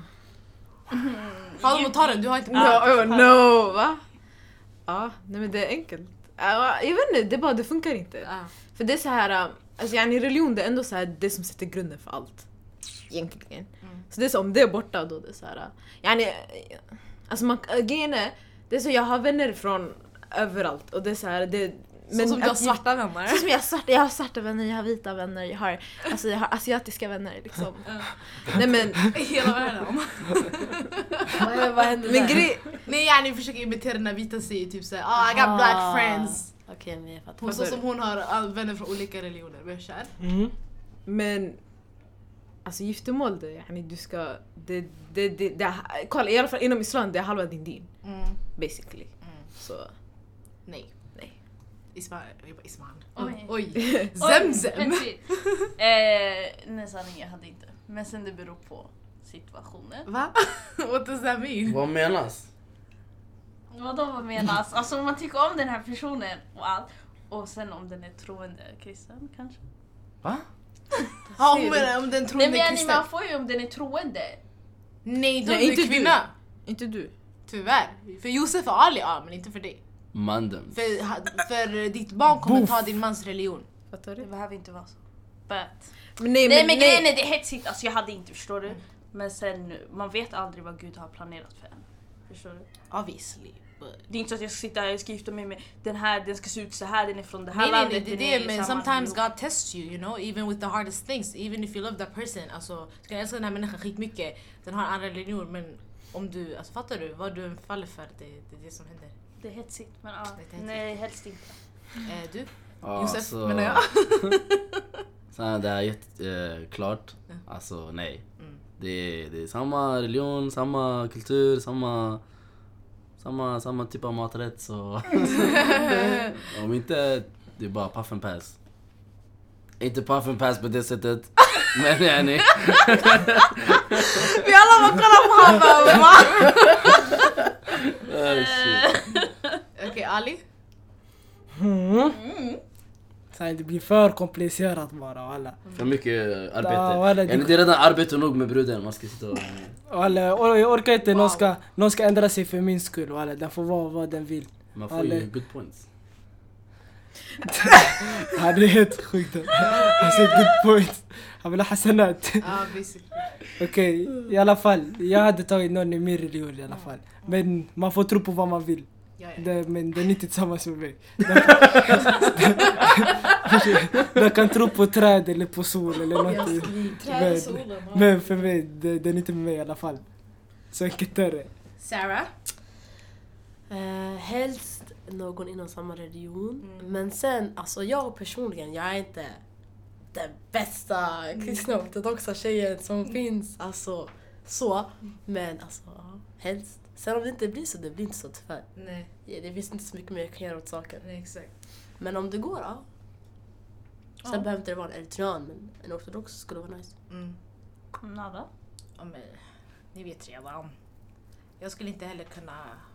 Falmo ta den, du har inte... No, oh, no, va? Ja, nej men det är enkelt. Ja, Jag vet inte, det bara det funkar inte. Ja. För det är så här, äh, alltså yani religion det är ändå så här det som sätter grunden för allt. Egentligen. Så det är så om det är borta då det är så här, äh, yani, äh, alltså man, äh, grejen är, det är så jag har vänner från överallt och det är så här, det Men som du har att- svarta vänner. så som jag, har svarta, jag har svarta vänner, jag har vita vänner, jag har, alltså, jag har asiatiska vänner liksom. Nej men, [LAUGHS] Hela världen. Vad, vad händer men där? grej, Nej, ja, ni försöker imitera den här vita säger typ såhär ah, I got Ah. black friends. Okej, men jag fattar. Hon, så som hon har ah, vänner från olika religioner. Men kär. Mm. Men alltså giftermål, det, yani, du ska... Det, det, det, det, kolla, i alla fall inom islam, det är halva din din. Mm. Basically. Så, Nej. Nej. Isman. Jag bara Isman. Oj. Oj. Oj. Zemzem. [LAUGHS] eh, nej sanningen, jag hade inte. Men sen det beror på situationen. Va? [LAUGHS] What does that mean? Vad menas? Vadå vad menas? Alltså om man tycker om den här personen och allt. Och sen om den är troende kristen kanske? Va? Ja, om, om den Nej trodde är men yani, kristen. man får ju om den är troende. Nej, då Nej, är inte du. du kvinna. inte du. Tyvärr. För Josef och Ali, ja men inte för dig. Mandem. För, för ditt barn kommer ta din mans religion. Fattar Det du? behöver inte vara så. But. Men nej, Nej men grejen är det är hetsigt, alltså jag hade inte förstår du. Men sen, man vet aldrig vad Gud har planerat för en. Förstår du? Obviously. But Det är inte så att jag ska sitta här, jag ska gifta mig med den här, den ska se ut så här, den är från det här Nej, nej, landet. nej, det är den det. i Men samma- sometimes God tests you, you know, even with the hardest things. Even if you love that person. Alltså, du kan älska den här människan skitmycket. Den har en annan religion, men om du, alltså fattar du? Vad du än faller för, det, det är det som händer. Det är hetsigt, men ja. Det är hetsigt. Nej, helst inte. Eh, du? Ja, Josef, så- [LAUGHS] menar jag. Sen det är jätteklart. Eh, klart. alltså nej. Mm. Det, är, det är samma religion, samma kultur, samma... Samma, samma typ av maträtt [LAUGHS] så... Om inte, det är bara puff and pass. Inte puff and pass på det sättet. Men [LAUGHS] yani, Vi alla bara kollar på honom bara va? oh, shit. [LAUGHS] Okej, Ali? Så att det blir för komplicerat bara walla. För mycket eh, Ja, walla, arbete. det- Yani, det är redan arbete nog med bruden, man ska sitta och... Walla, jag jag orkar inte. Någon, ska, någon ska ändra sig för min skull walla. Den får vara vad den vill. Man får Alla- ju good points. Han är helt sjuk. den. Han säger good point. Han vill ha hasanat. Ja, basically. Okej, i alla fall. Jag hade tagit någon i min religion i alla fall. Men man får tro på vad man vill. Ja, ja. Det, men den är inte tillsammans med mig. Den kan tro på träd eller på sol eller någonting. Träd och Men- solen. ja. Men för mig, det- den är inte med mig i alla fall. Så enkelt är det. Sarah? Eh, helst någon inom samma religion. Mm. Men sen, alltså jag personligen, jag är inte den bästa Mm. kristna ortodoxa tjejen som finns. Alltså så. Mm. Men alltså, ja, helst. Sen om det inte blir så, det blir inte så tyvärr. Nej, Ja, Det finns inte så mycket mer jag kan göra åt saken. nej exakt. Men om det går, ja. Sen Ja. behöver inte det vara en eritrean, men en ortodox skulle vara nice. Mm. Nada. Ja, men, ni vet redan. Jag skulle inte heller kunna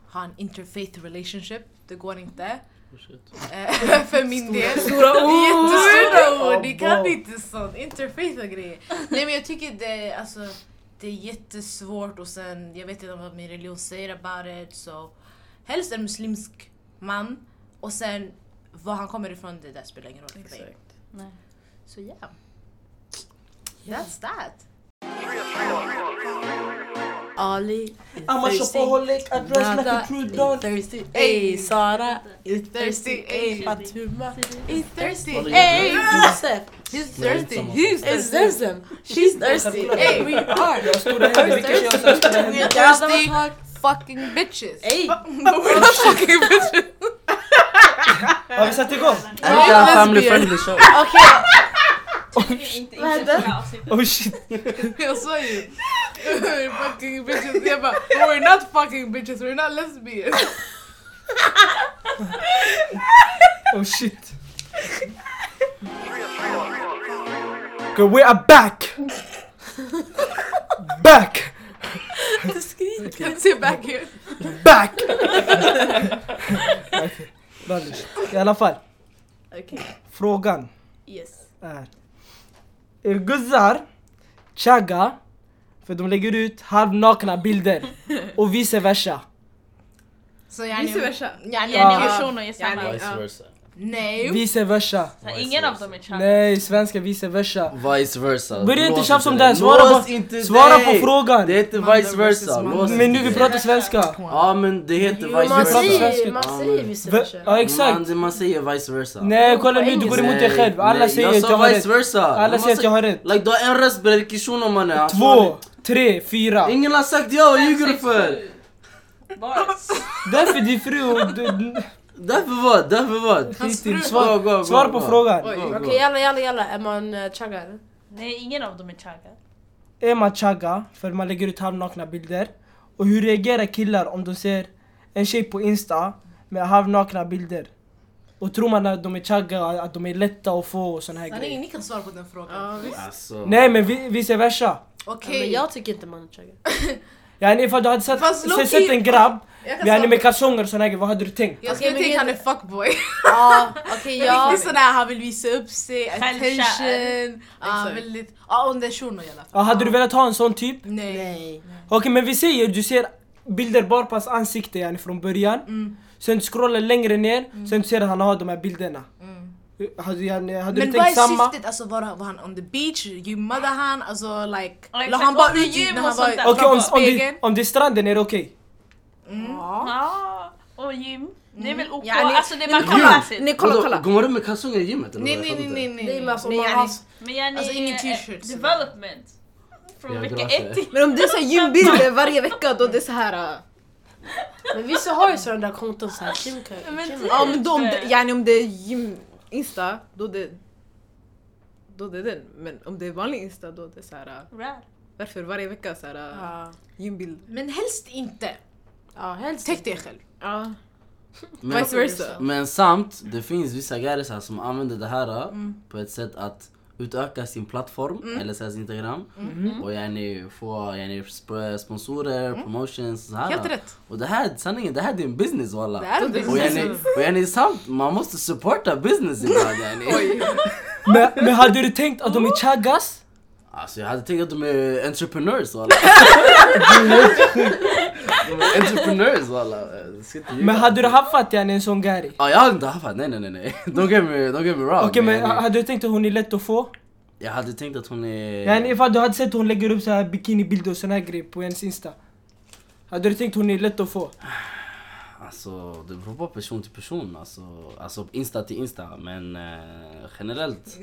ha en interfaith relationship. Det går inte. Oh, shit. Eh, [LAUGHS] för min del. Stora Jättestora ord! Ni Oh, kan wow. inte sånt. Interfaitha grejer. Nej men jag tycker det är, alltså, det är jättesvårt och sen jag vet inte vad min religion säger about it. Så helst en muslimsk man och sen var han kommer ifrån det där spelar ingen roll för mig. Nej. Så ja. That's that. Ali, I'm a shopaholic, I dress like a Nada, true är don. thirsty. Ey, Sara, är thirsty. Thirsty, Ey, ey. Fatuma. He's thirsty! Håller jag Hey! Josef. He's Nej, thirsty! samma. He's It's Zemzem. She's thirsty. Ey, we are. Jag stod där hemma vilken tjej jag ska ställa henne. We're thirsty fucking bitches! Ey, We're not fucking bitches! Har vi satt igång? Är det en family [LAUGHS] friendly show? Inte, inte Oh shit. Jag sa ju we're fucking bitches, jag bara we're not fucking bitches, we're not lesbians. Oh shit. Okay, we are back! Back! du skriker. Sit back here. [LAUGHS] Back! Rallish. I alla fall, Okej, frågan yes. är. Er guzzar chaggar för de lägger ut halvnakna bilder och vice versa. Så Vice versa. Yani, Ja, Ja. ni person och samma. Vice versa. Nej. Vice versa. Så Ingen av dem är trans. Nej, svenska vice versa. Vice versa. Börja inte Lås tjafsa om inte det här, dig. svara Lås på- inte svara på dig. frågan. Det heter Mother vice versa. versus Lås Men nu inte vi dig. pratar svenska. Ja men det heter Jo, vice man versa. säger, man Ja, säger men- vice Ve- versa. Ja exakt. Man, man säger vice versa. Nej kolla nu, du går emot dig Nej, själv. Alla nej, säger jag att sa jag har vice rätt. versa. Alla Man säger att jag har rätt. Like du har en röst ber rekishuno mannen. Två, tre, fyra. Ingen har sagt ja, vad ljuger du för? Bars. Därför din fru och... du- Därför vad? Därför vad? Hittills, Gå, gå, svar, gå, svar på gå. frågan. Gå, gå. Okej, jalla jalla jalla, är man eh, chaggar? Nej, ingen av dem är chagga. Är man chagga för man lägger ut halvnakna bilder? Och hur reagerar killar om de ser en tjej på Insta med halvnakna bilder? Och tror man att de är chagga, att de är lätta att få och sån här Sanningen, grejer? ni kan svara på den frågan. Alltså. Nej men vi- vice versa. Ja, men Okej. jag tycker inte man är chaggar. Yani ifall du hade sett, Fast low-key- sett, sett en grabb Jag kan yani svara. med kalsonger och sån här grejer, vad hade du tänkt? Jag skulle Okej, men tänka han är grejen- fuckboy. Ja, okej Ja. jag... [LAUGHS] Riktigt sån där han vill visa upp sig, Självkär. attention. Ja, Exakt. väldigt. Ja, om det är shuno i alla fall. Ja, hade du velat ha en sån typ? Nej. Nej. Okej men vi säger du ser bilder bara på hans Mm. ansikte yani från början Sen du scrollar längre ner, sen du ser att han har de här bilderna Hade, hade, hade Mm. Men du vad är tänkt samma? syftet? Alltså var, var han on the beach? Gymmade han? Alltså like... Ja, la exakt. han bara Var det ut gym när och han var... sånt där? Okej om, om, Spegeln. det, om det är stranden är det okej. Ja, och gym. Det är väl OK? Ja, ni- alltså det man kan Gym. lära sig. Nej kolla Vadå, kolla! Går man runt med kalsonger i gymmet eller Nej vad? Jag nej nej fattar nej inte. nej. Det är nej. bara som Nej, man yani- har... Men jag Alltså, ingen eh, t-shirt, så. Development. Från Ja, vecka grabbar. ett till... Men om det är såhär gymbilder varje vecka då det är äh, såhär... Men vissa har ju sådana där konton såhär, Kim kan... Men Kim- typ. Ja men då om det, yani om det är gym, insta då det... Då det är den. Men om det är vanlig insta då det är såhär... Rad. Varför varje vecka såhär Ja, gymbild? Men helst inte. ja helst. Täck dig själv. [LAUGHS] Ja. Men- Vice versa. Men samt, det finns vissa guys här som använder det här äh, Mm. på ett sätt att utöka sin plattform, eller så här, sin Instagram. Mm. Och yani få yani, sp- sponsorer, promotions och så här. äh. Helt rätt. Och det här, sanningen, det här är din business walla. Det är Och business. yani, och yani samt, man måste supporta business ibland [LAUGHS] yani. Men, men hade du tänkt att Mm. de är chaggas? Alltså jag hade tänkt att de är entrepreneurs [LAUGHS] walla. [LAUGHS] de är entrepreneurs walla. Men hade du haffat yani en sån gari? Ja jag hade inte haffat, nej nej nej nej. [LAUGHS] Don't get me, don't get me wrong. Okej men yani. ha- hade du tänkt att hon är lätt att få? Jag hade tänkt att hon är... Yani ifall du hade sett hon lägger upp så här bikinibilder och såna här grejer på hennes insta Hade du tänkt hon är lätt att få? Alltså det beror på person till person. Alltså, alltså insta till insta. Men eh, generellt.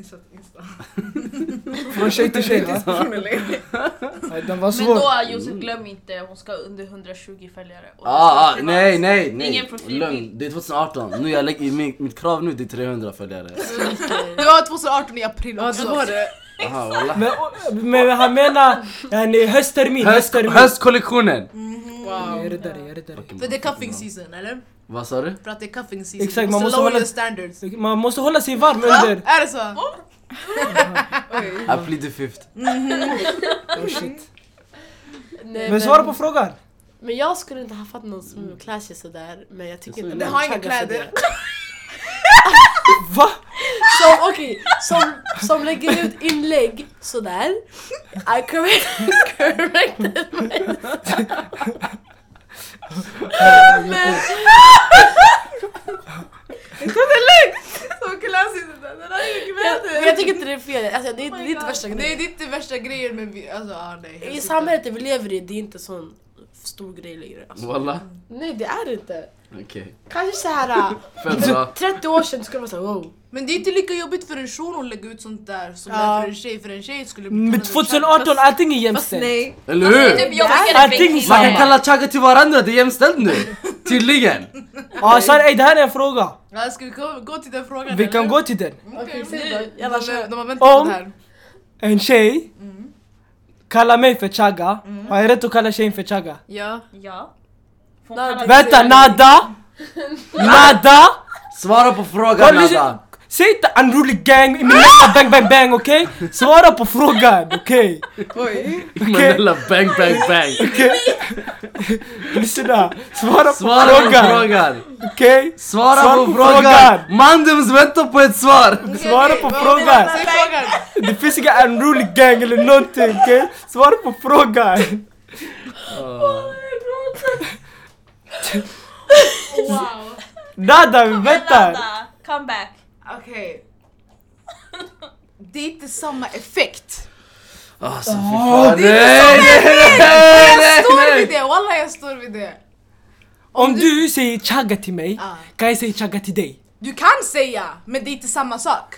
Från tjej till tjej va? [LAUGHS] [LAUGHS] Nej, Den var Men svår då Josef glöm inte, hon ska under 120 följare. Och det Alltså, Mm. ska Ah, ah, privat. nej nej nej. Ingen profilbild. Lugn. Det är 2018. Nu jag lägger, mitt, mitt krav nu det är 300 [LAUGHS] följare. Det var 2018 i april också. Aha, wallah. men, men han menar yani hösttermin, Höst, hösttermin höstkollektionen! Jag är räddare, jag är räddare Fucking För det är bra. cuffing Mm. season eller? Vad sa du? För att det är cuffing season. Exakt, Du man måste lower hålla- your standards. Man måste hålla sig varm Ja, under... är Oh. det så? I plead the fifth. Oh, shit. Nej, Men svara på frågan! Men jag skulle inte haffat någon som klär sig sådär. Men jag tycker inte Mm. Det man har inga chaggar sådär. [LAUGHS] kläder. Va? Som, okej, som, som lägger ut inlägg sådär. I correct, [LAUGHS] corrected Så klassiskt det där. Det där är ju jag, kläder. men jag tycker inte det är fel. Alltså, det, är- det är inte God. värsta Nej grejen. det är inte värsta grejen men vi, alltså ah, nej. helt I inte. samhället vi lever i, det är inte sån stor grej längre. Alltså. Walla. Nej det är det inte. Okej. Kanske såhär [LAUGHS] Fett bra. 30 typ år sedan skulle man säga wow. Men det är inte lika jobbigt för en shuno att lägga ut sånt där som det Ja. är för en tjej. För en tjej skulle bli Men kallad en 2018, allting är Fast jämställt nej. Eller Det är typ hur? jag Nej, skickade allting till Man kan mamma. kalla chagga till varandra, det är [LAUGHS] jämställt nu! Tydligen! ah, så, ey, Det här är en fråga, tjej. Ja, ska vi gå, gå till den frågan vi kan gå till den Okej, säg till då. de, har- de har väntat på Om- det här. En tjej kallar mig för chagga, har jag rätt att kalla tjejen för chagga? Ja. Ja. Får Nej, kalla- Vänta, [LAUGHS] nada! Nada! Svara på Kolla, frågan lyssna. Nada! Säg inte unruly gang i min nästa bang bang bang okej? Svara på frågan okej? [LAUGHS] Manella bang bang bang! Okej? Lyssna, svara på Svara frågan, på frågan! okej? Svara, Svara på, på frågan! frågan. Mandums väntar på ett svar! Svara på frågan! Säg frågan! Det finns inga unruly gang eller någonting okej? Svara på frågan! Wow. Nada, vi väntar! é Nada, Come back. Okej. Det är inte samma effekt. Alltså fy fan, nej, nej, Jag står vid det, wallah jag står vid det. Om du säger chagga till mig, Ah. kan jag säga chagga till dig? Du kan säga, men det är inte samma sak.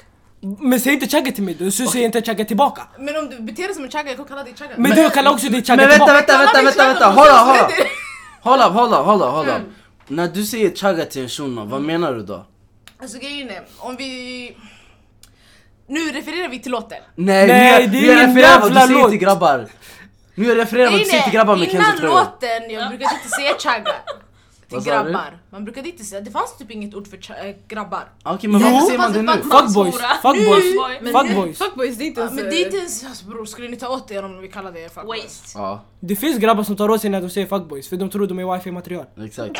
Men säg inte chagga till mig då, så säger jag inte chagga tillbaka Men om du beter dig som en chagga, jag kommer kalla dig chagga. Men, du kallar också dig chagga Men vänta, tillbaka vänta, vänta, vänta, vänta, hold up, Mm. hold up! Hold up, hold up, hold up, hold up. När du säger chagga till en shuno, vad menar du då? Alltså grejen är, om vi... Nu refererar vi till låten. Nej, Nej, nu, det är jag- nu jag ingen refererar vad du jävla säger låt. till grabbar. Nu jag refererar vad du säger till grabbar med innan Kenzo-tröjan. låten, jag brukade inte säga chagga. Till Vad sa du? grabbar. Man brukade inte säga, det fanns typ inget ord för cha- äh, grabbar. Ah, Okej men Jo. varför säger man det Fast- nu? fast- Fuckboys, fuckboys, Men fuckboys Fuckboys det är inte Ja, ens... men det är inte ens, alltså, bror skulle ni ta åt er om vi kallar det fuck Waste. Ja, Det finns grabbar som tar åt sig när de säger fuckboys för de tror de är wifi material exakt.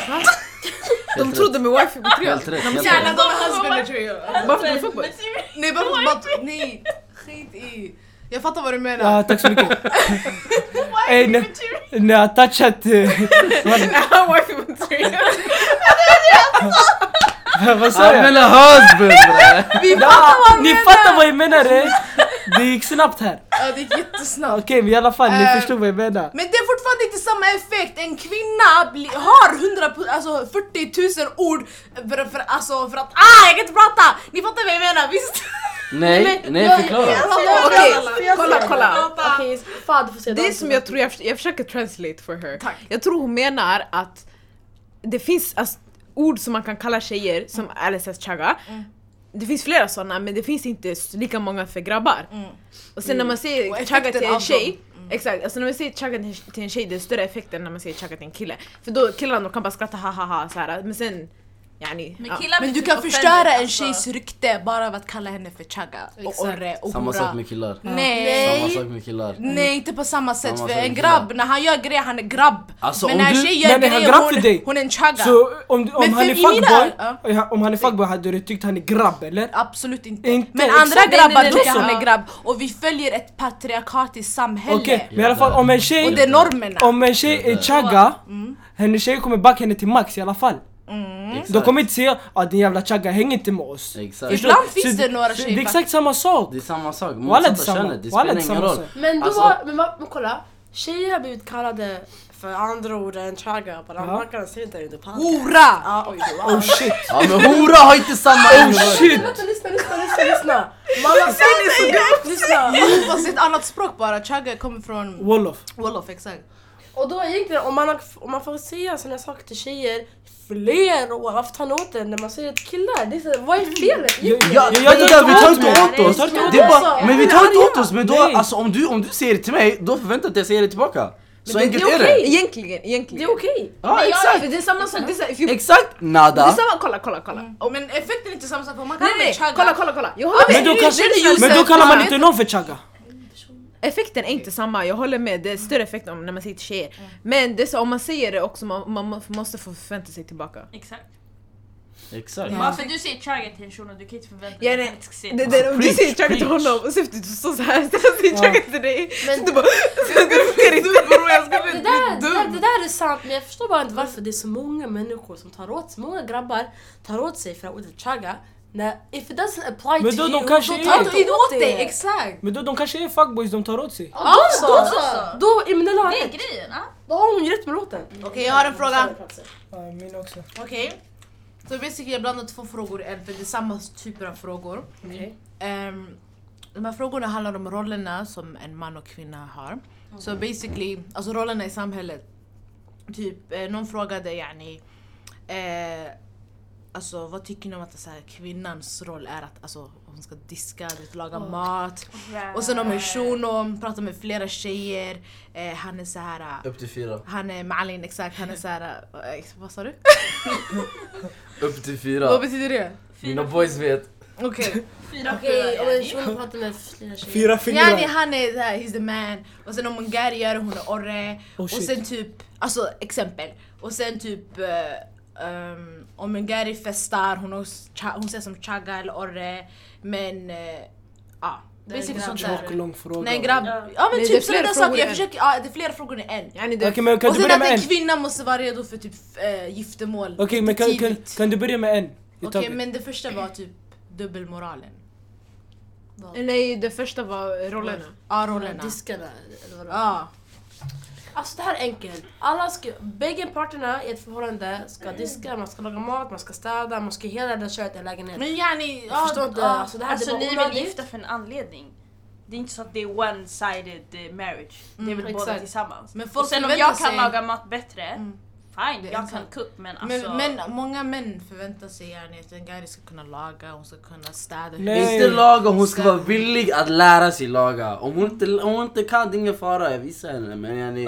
De trodde med wifi på tre. Helt rätt, helt Gärna rätt. de med husband jag tror jag. Varför de är fuckboys? Nej bara, bara nej, skit i. Jag fattar vad du menar. Ja, Ah, tack så [LAUGHS] mycket Ey, när, när jag touchat... eh, Wifi på tre. Vad sa Jag jag? menar husband bre! Ja, ni fattar vad jag menar! eh? Det gick snabbt här. Ja, det gick jättesnabbt. Okej, men i alla fall, ni Eh, förstod vad jag menar. Men det är fortfarande inte samma effekt. En kvinna bli, har 100, pu- alltså 40 000 ord för, för, alltså för att ah, jag kan inte prata! Ni fattar vad jag menar, visst? [LAUGHS] Nej, nej förklara! Okej, kolla kolla. Okej, fan du får säga Det är dagen. som jag tror, jag, förs- jag försöker translate for her. Tack. Jag tror hon menar att det finns alltså, ord som man kan kalla tjejer, som Mm. LSS chaga. Det finns flera sådana men det finns inte s- lika många för grabbar. Och sen när man Mm. Och säger effekten chaga till av dem. Mm. en tjej, exakt, alltså när man säger chaga till- till en tjej det är större effekt än när man säger chaga till en kille. För då killarna de kan bara skratta ha ha ha så här. men sen, yani, Men ja. killar Men blir du typ kan offended, förstöra en alltså. tjejs rykte bara av att kalla henne för chagga och orre och Samma hora. sak med killar. Nej. Mm. Samma sak med killar. Nej inte på samma sätt Samma sak för med en killar. grabb, när han gör grejer han är grabb. Alltså, men om när en du- tjej gör Men är han grejer grabb för dig? hon, hon är en chagga. Så om, om Men han för är i mina- fuckboy, ja. om han är fuckboy hade du tyckt han är grabb eller? Absolut inte. Inte, men exakt. andra Nej, nej, grabbar nej, tycker nej. han Ja. är grabb och vi följer ett patriarkatiskt samhälle. Okej, men i alla fall om en tjej... Och det är normerna. Mm. Om en tjej är chagga, hennes tjej kommer backa henne till max i alla fall. Exakt. De kommer inte säga att din jävla chagga hänger inte med oss. Exakt. Förstår Ibland du? finns det några så tjejer Det är exakt samma sak. Det är samma sak, Wallah, det är motsatta samma. könet, det Wallah, det är spelar ingen samma roll. sak. Men då Alltså- var, men, va- men kolla, tjejer har blivit kallade för andra ord än chaga på den här marknaden, ser inte det under pannan. Hora! Ja, oj, oj, Oh shit. Ja men hora har inte samma Oh shit. Lyssna, lyssna, lyssna, lyssna, lyssna! Mamma sa det! Lyssna! [LAUGHS] Fast det är ett annat språk bara, chagga kommer från Wolof. Wolof exakt. Och då egentligen, om man, har- om man får alltså, säga sådana saker till tjejer fler år, varför tar ni åt det när man säger till killar? Det är så, vad är felet Jag- egentligen? Ja, Jag- jag, jag tar vi tar inte inte åt åt mig. Jag oss! tar inte Det är åt bara, oss. men vi tar inte åt oss, men då, Nej. alltså, om, du, om du säger det till mig, då förväntar jag att jag säger det tillbaka! Så det enkelt är är det! egentligen, egentligen. Det är okej! Ja Nej, jag- exakt! för Det är samma sak, det är så här, if you- det Exakt är nada! samma, kolla kolla kolla. Men effekten är inte samma sak, för man Nej kallar mig nej, chagga. kolla kolla kolla. Jag håller Men med. då, kanske, Josef, men då kallar man fan. inte någon för chagga. Effekten är inte samma, jag håller med. Det är större effekt om när man säger till tjejer. Men det är så, om man säger det också, man, man må- måste få förvänta sig tillbaka. Exakt. Exakt! Varför du säger chugga till en shuno, du kan inte förvänta dig Ja, att nej. han ska se Det, det, om du preach, säger chugga till preach. honom och så efter du står såhär, så säger Ja. chugga till dig. Men- Så du bara... Du ser inte. Det där, det, där, det där är sant men jag förstår bara inte varför det är så många människor som tar åt sig, många grabbar tar åt sig för ordet chaga när if it doesn't apply Men to då you, de kanske då är- tar Ta du inte åt dig! Exakt. exakt! Alltså. Men då, de kanske är fuckboys de tar åt sig. Ja, då Då Alltså. så! så. Då, Eminella har Det är rätt, grejen, ah. då har hon ju rätt med låten. Okej jag har en fråga. Min också. Okej. Så basically jag blandar två frågor i en för det är samma typer av frågor. Okej. Ehm, de här frågorna handlar om rollerna som en man och kvinna har. Så basically, alltså rollerna i samhället. Typ eh, någon frågade yani, eh, alltså vad tycker ni om att så här, kvinnans roll är att alltså, hon ska diska, du vet, laga mat. Och sen om en shuno, pratar med flera tjejer. Eh, han är så här... eh, Upp till fyra. han är Malin, exakt. Han är såhär... eh, Vad sa du? Upp till Vad fyra. betyder det? Mina boys vet. Okej. Fyra Okej, om en sjuor. shuno pratar med flera tjejer. Fyra Yani fingrar. han är såhär, he's the man. Och sen om hon Gary gör det, hon är orre. Oh, och shit. sen typ, alltså exempel. Och sen typ eh, ehm, om en Gary festar, hon, har, cha- hon ser som chagga eller orre. Men eh, ja. är basically en sånt grabb. Tjock och där. lång fråga. Nej en grabb. Ja. Ja men Nej, det är typ sådana flera där saker. frågor Jag än. försöker, ja det är flera frågor än en. Yani Okej det- men kan och du sen börja att med en en? kvinna måste vara redo för typ äh, giftermål. Okej men kan, kan, tidigt. kan du börja med en? i Okej taget? men det första var typ dubbelmoralen. Nej, det första var rollerna. Ja Eller rollerna. Diskarna eller vad det var. Ja. Alltså det här är enkelt. Alla ska, bägge parterna i ett förhållande ska Mm. diska, man ska laga mat, man ska städa, man ska hela det köret i lägenheten. Men yani, Jag förstår inte. Alltså det här Alltså det ni är är bara väl onödigt. gifta för en anledning? Det är inte så att det är one-sided eh, marriage. Det är väl båda exakt. tillsammans. Men folk Och sen om förväntar jag kan sig- laga mat bättre, Det fine, är jag sant. kan cook men Men, alltså... men många män förväntar sig yani att en guy ska kunna laga, hon ska kunna städa Nej. Inte laga, hon ska vara villig att lära sig laga. Om hon inte, om hon inte kan, det är ingen fara. Jag visar henne. Men yani,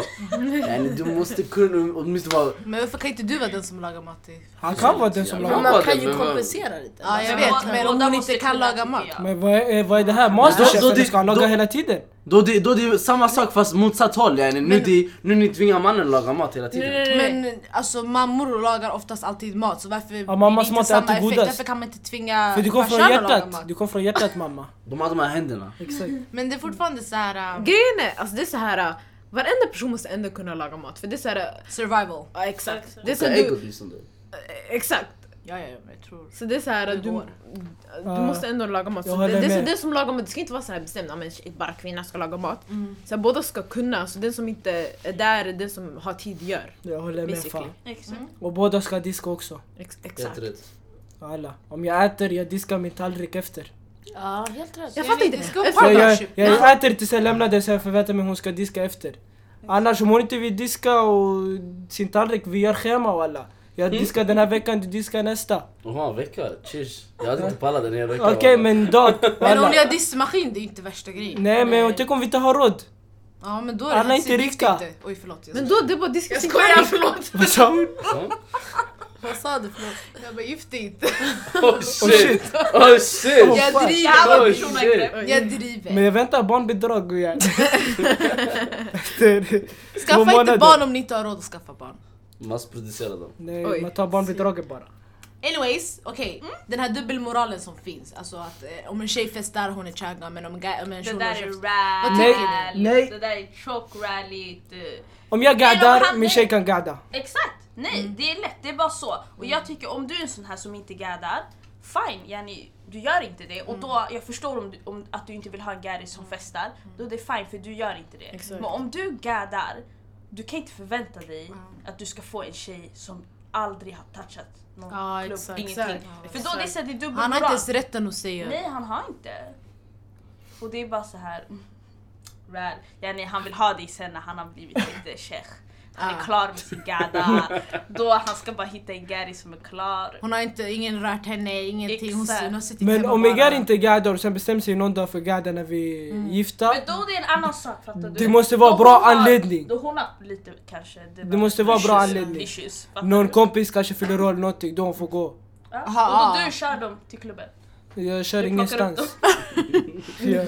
yani, du måste kunna åtminstone vara... Men varför kan inte du vara den som lagar mat? Till? Han kan vara den som Ja, lagar. Men vad man det- kan ju men vad- kompensera lite. Ja jag Men vet, båda- men om båda hon måste inte kan kunna, laga mat. tycker jag. Men vad är, vad är det här? Då- då Masterchef? det- Ska han laga då- hela tiden? Då det, då det är samma sak fast motsatt håll. Yani. Nu, det, nu ni tvingar mannen att laga mat hela tiden. Men alltså mammor lagar oftast alltid mat så varför blir det mammas inte mat är samma alltid effekt? godast. Därför kan man inte tvinga För du kom farsan från att laga hjärtat. mat? Du kom från hjärtat mamma. De hade de här händerna. Exakt. Men det är fortfarande såhär um, Grejen är, alltså det är så här. äh, Varenda person måste ändå kunna laga mat för det är såhär... survival. Ja exakt. Det är så Så här, du, egot liksom. exakt. Ja, ja, ja, men jag tror... Så det är såhär, Det du, går. du måste ändå laga mat. Jag Så håller det, det, är så, med. det som lagar mat, det ska inte vara så här bestämt att men shit, bara kvinnan ska laga mat. Mm. Så här, båda ska kunna, så den som inte är där, den som har tid gör. Jag håller med Basically. fan. Exakt. Och båda ska diska också. Ex- Helt Exakt. rätt. Alla. Om jag äter, jag diskar min tallrik efter. Ja, helt rätt. Jag fattar inte. Det ska vara Jag- Jag, jag, partnership. jag äter tills jag lämnar det så jag förväntar mig hon ska diska efter. Annars om hon inte vill diska och sin tallrik, vi gör schema och alla. Jag Mm. diskar den här veckan, du diskar nästa. Jaha, vecka? Cheers. Jag hade inte pallat en hel vecka. Okej men dock. Men om alla. ni har diskmaskin, det är inte värsta grejen. Nej men tänk om vi inte har råd. Ja, men då är det Alla är inte inte rika. viktigt. Oj, förlåt. Jag, Men då, det är bara diska jag sin skojar, tallrik. förlåt. [LAUGHS] Vad sa hon? Ja. Vad sa du? Förlåt. Jag bara, gift dig inte. Oh shit! Oh shit! Oh, fuck. Jag Det här driver. var Oh, personangrepp. Jag driver. Men jag väntar barnbidrag [LAUGHS] och jag... Efter två Skaffa inte månader. barn om ni inte har råd att skaffa barn. Massproducera dem. Nej, Oj. man tar barnbidraget bara. Anyways, okej. Mm. Den här dubbelmoralen som finns. Alltså att eh, om en tjej festar hon är chagga men om en, guy, om en Det shuno där är är rally. Vad tycker ni? Nej. Det där är chock eh. rally. du. Om jag Nej, de gaddar, hade- min tjej kan gadda. Exakt! Nej, Mm. det är lätt. Det är bara så. Och jag tycker om du är en sån här som inte gaddar, fine, yani, du gör inte det. Mm. Och då, jag förstår om du, om, att du inte vill ha en gaddy som festar, då är det fine för du gör inte det. Mm. Exakt. Mm. Men om du gaddar, du kan inte förvänta dig att du ska få en tjej som aldrig har touchat någon Ja, klubb, exakt. ingenting. Ja, För då är det såhär, det är dubbelmoral. Han har inte ens rätten att säga. Nej, han har inte. Och det är bara så här. mm, Rad. Yani, han vill ha dig sen när han har blivit lite sheikh. Han är Ah. klar med sin [LAUGHS] gada. Då han ska bara hitta en gäri som är klar. Hon har inte, ingen rört henne, ingenting. Hon, Exakt. hon har suttit Men hemma om bara. jag Mm. gaddar inte gaddar och sen bestämmer sig någon dag för att gadda när vi är gifta. Men då det är en annan sak fattar du? Det måste vara Då bra hon har- anledning. Då hon har lite kanske Det måste vara bra issues, anledning. Issues, fattar Någon du? kompis kanske fyller roll någonting, då hon får gå. Ja. Aha. Och då du kör dem till klubben. Jag kör Du plockar ingenstans. Ja.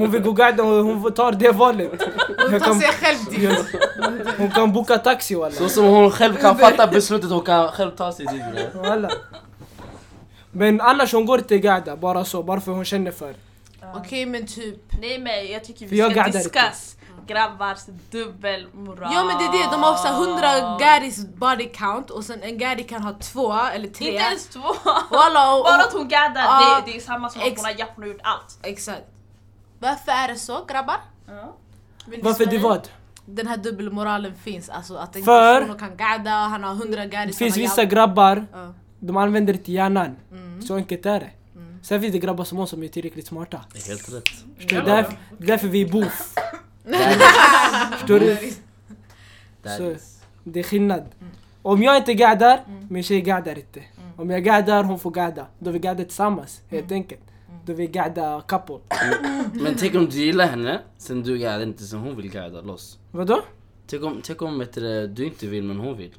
Hon vill gå guide, hon hon tar det valet. Hon Jag tar kan, sig själv typ- dit. Ja. hon kan boka taxi Så walla. som hon själv kan fatta beslutet, hon kan själv ta sig dit. bro. Walla. Men annars hon går till guida, bara så, bara för hon känner för. Okej men typ. Nej men jag tycker För vi jag ska gaddar inte. diskas grabbars dubbelmoral. Ja men det är det, de har också 100 garis body count och sen en gari kan ha två eller tre. Inte ens två. och alla, och, Bara att hon gaddar, Ja. det, det är samma som att Ex- hon har japp, hon har gjort allt. Exakt. Varför är det så grabbar? Vill ni Varför det svara? vad? Den här dubbelmoralen finns, alltså att en För- person kan gadda, han har 100 garis. Det finns vissa grabbar, de använder inte hjärnan. Mm. Så enkelt är det. Sen finns det grabbar som oss som är tillräckligt smarta. Det är Helt rätt. Förstår du? Därför, därför vi är boof. Förstår du? Så, det är skillnad. Om jag inte gaddar, min tjej gaddar inte. Om jag gaddar, hon får gadda. Då vi gaddar tillsammans, helt enkelt. Då vi gaddar couple. Men tänk om du gillar henne, sen du guidar inte, sen hon vill guida loss. Vadå? Tänk om, tänk om vet du, det, du inte vill men hon vill.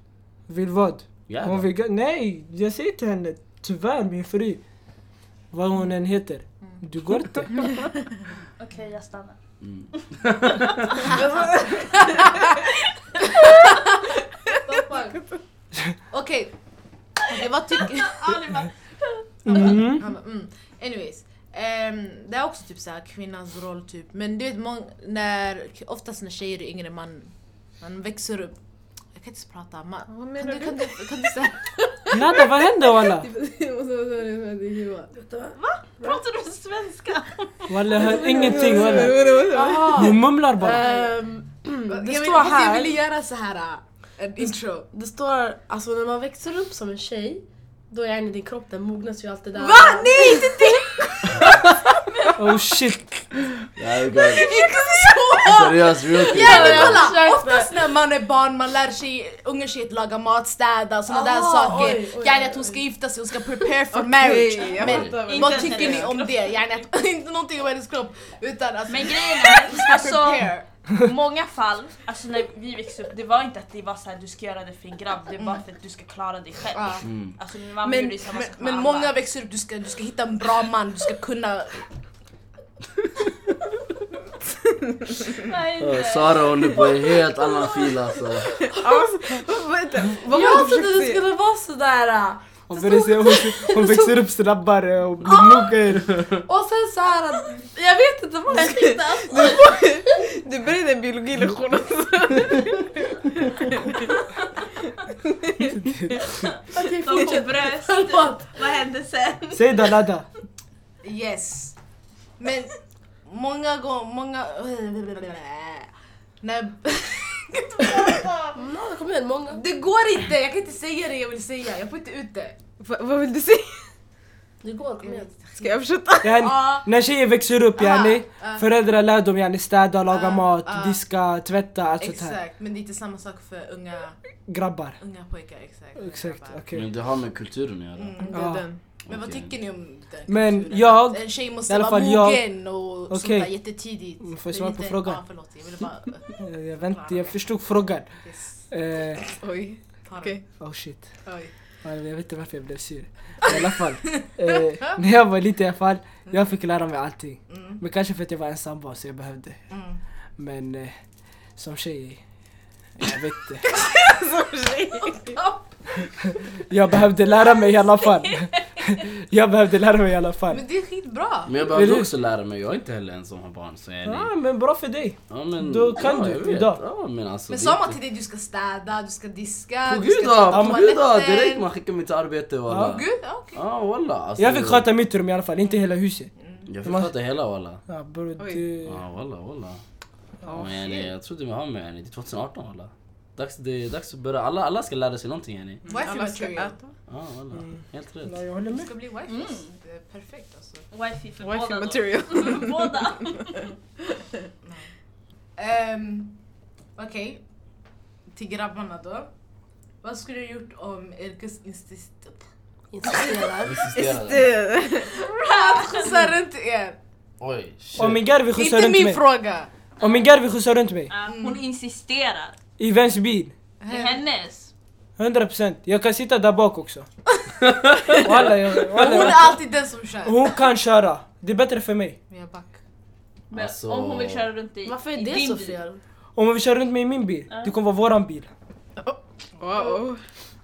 Vill vad? Gadda. Hon vill gadda. Nej, jag säger till henne, tyvärr min fru. Vad hon än heter. Du går inte. Okej jag stannar. Okej, Okej, vad tycker... [LAUGHS] Ali bara- Mm. Han bara, mm. Anyways. ehm, det är också typ såhär kvinnans roll typ. Men du vet många, när, oftast när tjejer är yngre man, man växer upp. Jag kan inte ens prata. Man, Vad kan, menar du, du? kan, du, kan du säga? Nada, vad händer walla? Pratar du svenska? Walla, jag hör ingenting walla. Hon mumlar bara. Ehm, det [LAUGHS] jag, vill, står fast jag ville här, göra så här äh, en intro. det står alltså när man växer upp som en tjej då är din kropp, den mognas ju allt det där. Va? Nej inte Oh shit. Ja, [LAUGHS] jag går. så! Seriöst, real talk. Ja men kolla! Oftast när man är barn, man lär sig unga tjejer att laga mat, städa och såna där Ah, saker. oj, oj, Yani oj, att hon ska gifta sig, hon ska prepare for marriage. jag Men fattar vad- vad Inte tycker hennes ni om det? Yani att, [LAUGHS] inte någonting om hennes kropp utan alltså... Men grejen [LAUGHS] är, alltså prepare. många fall, alltså när vi växte upp, det var inte att det var så här du ska göra det för en grabb, det var för att du ska klara dig själv. Ja. Alltså min mamma Men, gjorde ju samma men, sak med men alla. många växer upp, du ska, du ska hitta en bra man, du ska kunna... Nej, Ja, nej. Sara hon är på en helt annan fil alltså. Vad Jag var det trodde du det försökte skulle vara sådär. äh. Hon, börjar säga- hon, hon växer upp snabbare och blir mognare. Och sen så här att jag vet inte vad jag [LAUGHS] tänkte. Alltså, Du började en biologilektion [LAUGHS] alltså. Att Okej, De fortsätt. får bröst. Förlåt. Vad hände sen? Säg Dalada. Yes. Men många gånger, många... [LAUGHS] När... Ja, det kom igen, många. Det går inte, jag kan inte säga det jag vill säga. Jag får inte ut det. Va, vad vill du säga? Det går, kom igen. Ska jag fortsätta? Yani, Ja. när tjejer växer upp yani, föräldrar lär dem yani städa, laga Ah, mat, ah. diska, tvätta, allt sånt här. Exakt, men det är inte samma sak för unga, Grabbar. unga pojkar. Exakt. Exakt, okej. Men det har med kulturen att göra. Det Ja. är den. Men vad Okej. tycker ni om den Men kulturen? jag- Att en tjej i måste alla vara fall jag- mogen och sånt Okej. där jättetidigt. Mm, får jag Det är svara på lite- frågan? Ja, förlåt. Jag ville [LAUGHS] bara... Eh, Jag väntade, jag förstod frågan. Yes, Eh, Oj. ta det. Okej. oh shit. Oj. Ja, Jag vet inte varför jag blev sur. I alla [LAUGHS] fall. Eh, när jag var liten i alla fall, jag fick lära mig allting. Mm. Men kanske för att jag var ensam barn så jag behövde. Mm. Men eh, som tjej, jag vet inte. [LAUGHS] [LAUGHS] Jag behövde lära mig i alla fall. [LAUGHS] Jag behövde lära mig i alla fall. Men det är skitbra! Men jag behövde Vill du- också lära mig, jag är inte heller ensam har barn så jag är Ja men bra för dig. ja, men, då kan ja, du jag vet. idag. Ja, men alltså, Men det sa är man typ- inte- till dig du ska städa, du ska diska, På du gud ska då, på på gud då! toaletten. Direkt man skickar mig till arbete På walla. Gud, ja, okej. Ja walla. Alltså, Jag fick sköta mitt rum i alla fall, inte hela huset. Jag fick sköta hela walla. Ja bror du... Ja walla walla. Ja, Men yani, jag trodde vi har med yani, det är 2018 walla. Dags, det är dags att börja, alla, alla ska lära sig någonting yani. Wifi material. Ja walla, helt rätt. Ja, jag håller med. Det ska bli wifi. Det är perfekt alltså. Wifi för Wifi båda [LAUGHS] material. då. För [LAUGHS] båda. Ehm, Okej, till grabbarna då. Vad skulle du gjort om yrkesinstitutet Insisterar. Insisterade. Det, skjutsar runt er? Oj, shit. Om min garvi skjutsar Inte Mm. runt min mig. fråga! Om min garvi skjutsar runt mig. Ja, Hon insisterar. I vems bil? Det är hennes. 100% Jag kan sitta där bak också. Walla, jag, Hon walla, är jag, alltid den som kör. hon kan köra. Det är bättre för mig. Men jag back. Men Alltså- om hon vill köra runt i, Varför i är det din så bil. fel? Om vi kör runt mig i min bil, det kommer vara våran bil. wow.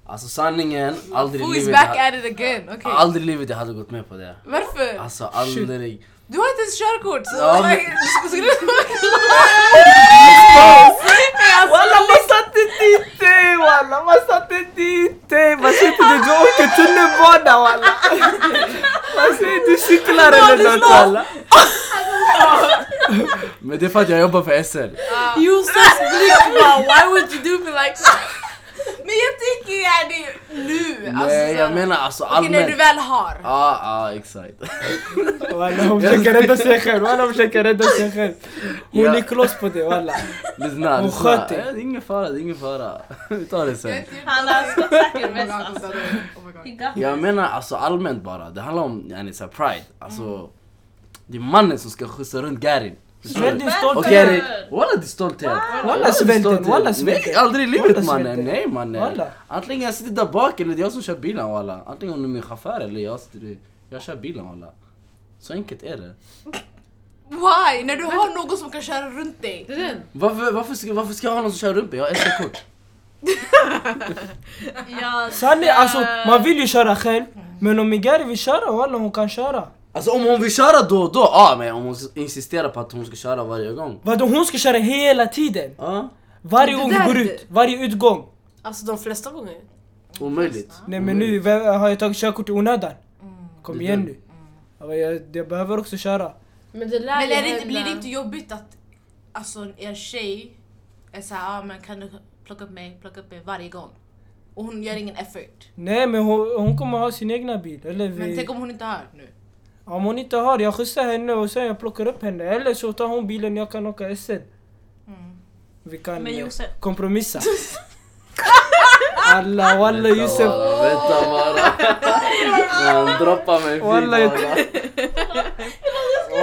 Alltså sanningen, aldrig i Who is livet, back jag- at it again? Okej. aldrig i livet jag hade gått med på det. Varför? Alltså aldrig. Du har inte ens körkort! Så Ja, men- Skulle- skulle- Walla man satte dit dig walla, man satte dit dig! Man säger till dig du åker tunnelbana walla! Man säger Alltså, du cyklar eller nåt walla! Men det är för att jag jobbar för SL. Ah. Josefs blick bara, why would you do me like that? Men jag tänker yani nu! Alltså, Nej jag så- menar alltså Okej, när du allmänt. väl har. Ja, ja exakt. Walla hon försöker rädda sig själv, walla hon försöker rädda sig själv. Hon Ja. är kloss på det walla. Lyssna, Hon lyssna. sköt dig. Ja, Det är ingen fara, det är ingen fara. [LAUGHS] Vi tar det sen. Han har säkert mest [LAUGHS] Oh my alltså. god, oh my god. He got Jag menar alltså allmänt bara, det handlar om yani, så här, pride. Alltså, det är mannen som ska skjutsa runt Garin. Förstår Men du? det är stolt Och Okej. över. yani, walla det är stolthet. Walla det är svälten, stolthet. walla svälten. Nej aldrig i Walla livet mannen, svälten. nej mannen. Walla. Antingen jag sitter där bak eller det är jag som kör bilen walla. Antingen hon är min chaufför eller jag sitter i- jag kör bilen walla. Så enkelt är det. Why? När du har någon som kan köra runt dig. det är den. Varför, varför, ska, varför ska jag ha någon som kör runt mig? Jag har SL-kort. Ja, Sanne det- alltså, man vill ju köra själv. Men om min Gary vill köra walla hon kan köra. Alltså om hon vill köra då och då, ja men om hon insisterar på att hon ska köra varje gång. Vadå hon ska köra hela tiden? Ja, Varje Det gång vi där- går ut, varje utgång. Alltså de flesta gånger. omöjligt. Nej men nu vem- har jag tagit körkort i onödan. Mm. Kom Det igen där. nu. Ja, Jag, jag behöver också köra. Men det lär Men ju är det, inte- hända. blir det inte jobbigt att alltså, er tjej är såhär, ah, men kan du plocka upp mig, plocka upp mig varje gång? Och hon gör ingen effort. Nej men hon, hon kommer ha sin egna bil. Eller Men vi, tänk om hon inte har nu? om hon inte har, jag skjutsar henne och sen jag plockar upp henne. Eller så tar hon bilen jag kan åka SL. Mm. Vi kan Men eh, Josef- kompromissa. [LAUGHS] Alla walla Josef. bara, vänta bara. Han droppar mig fint Walla, jag- walla.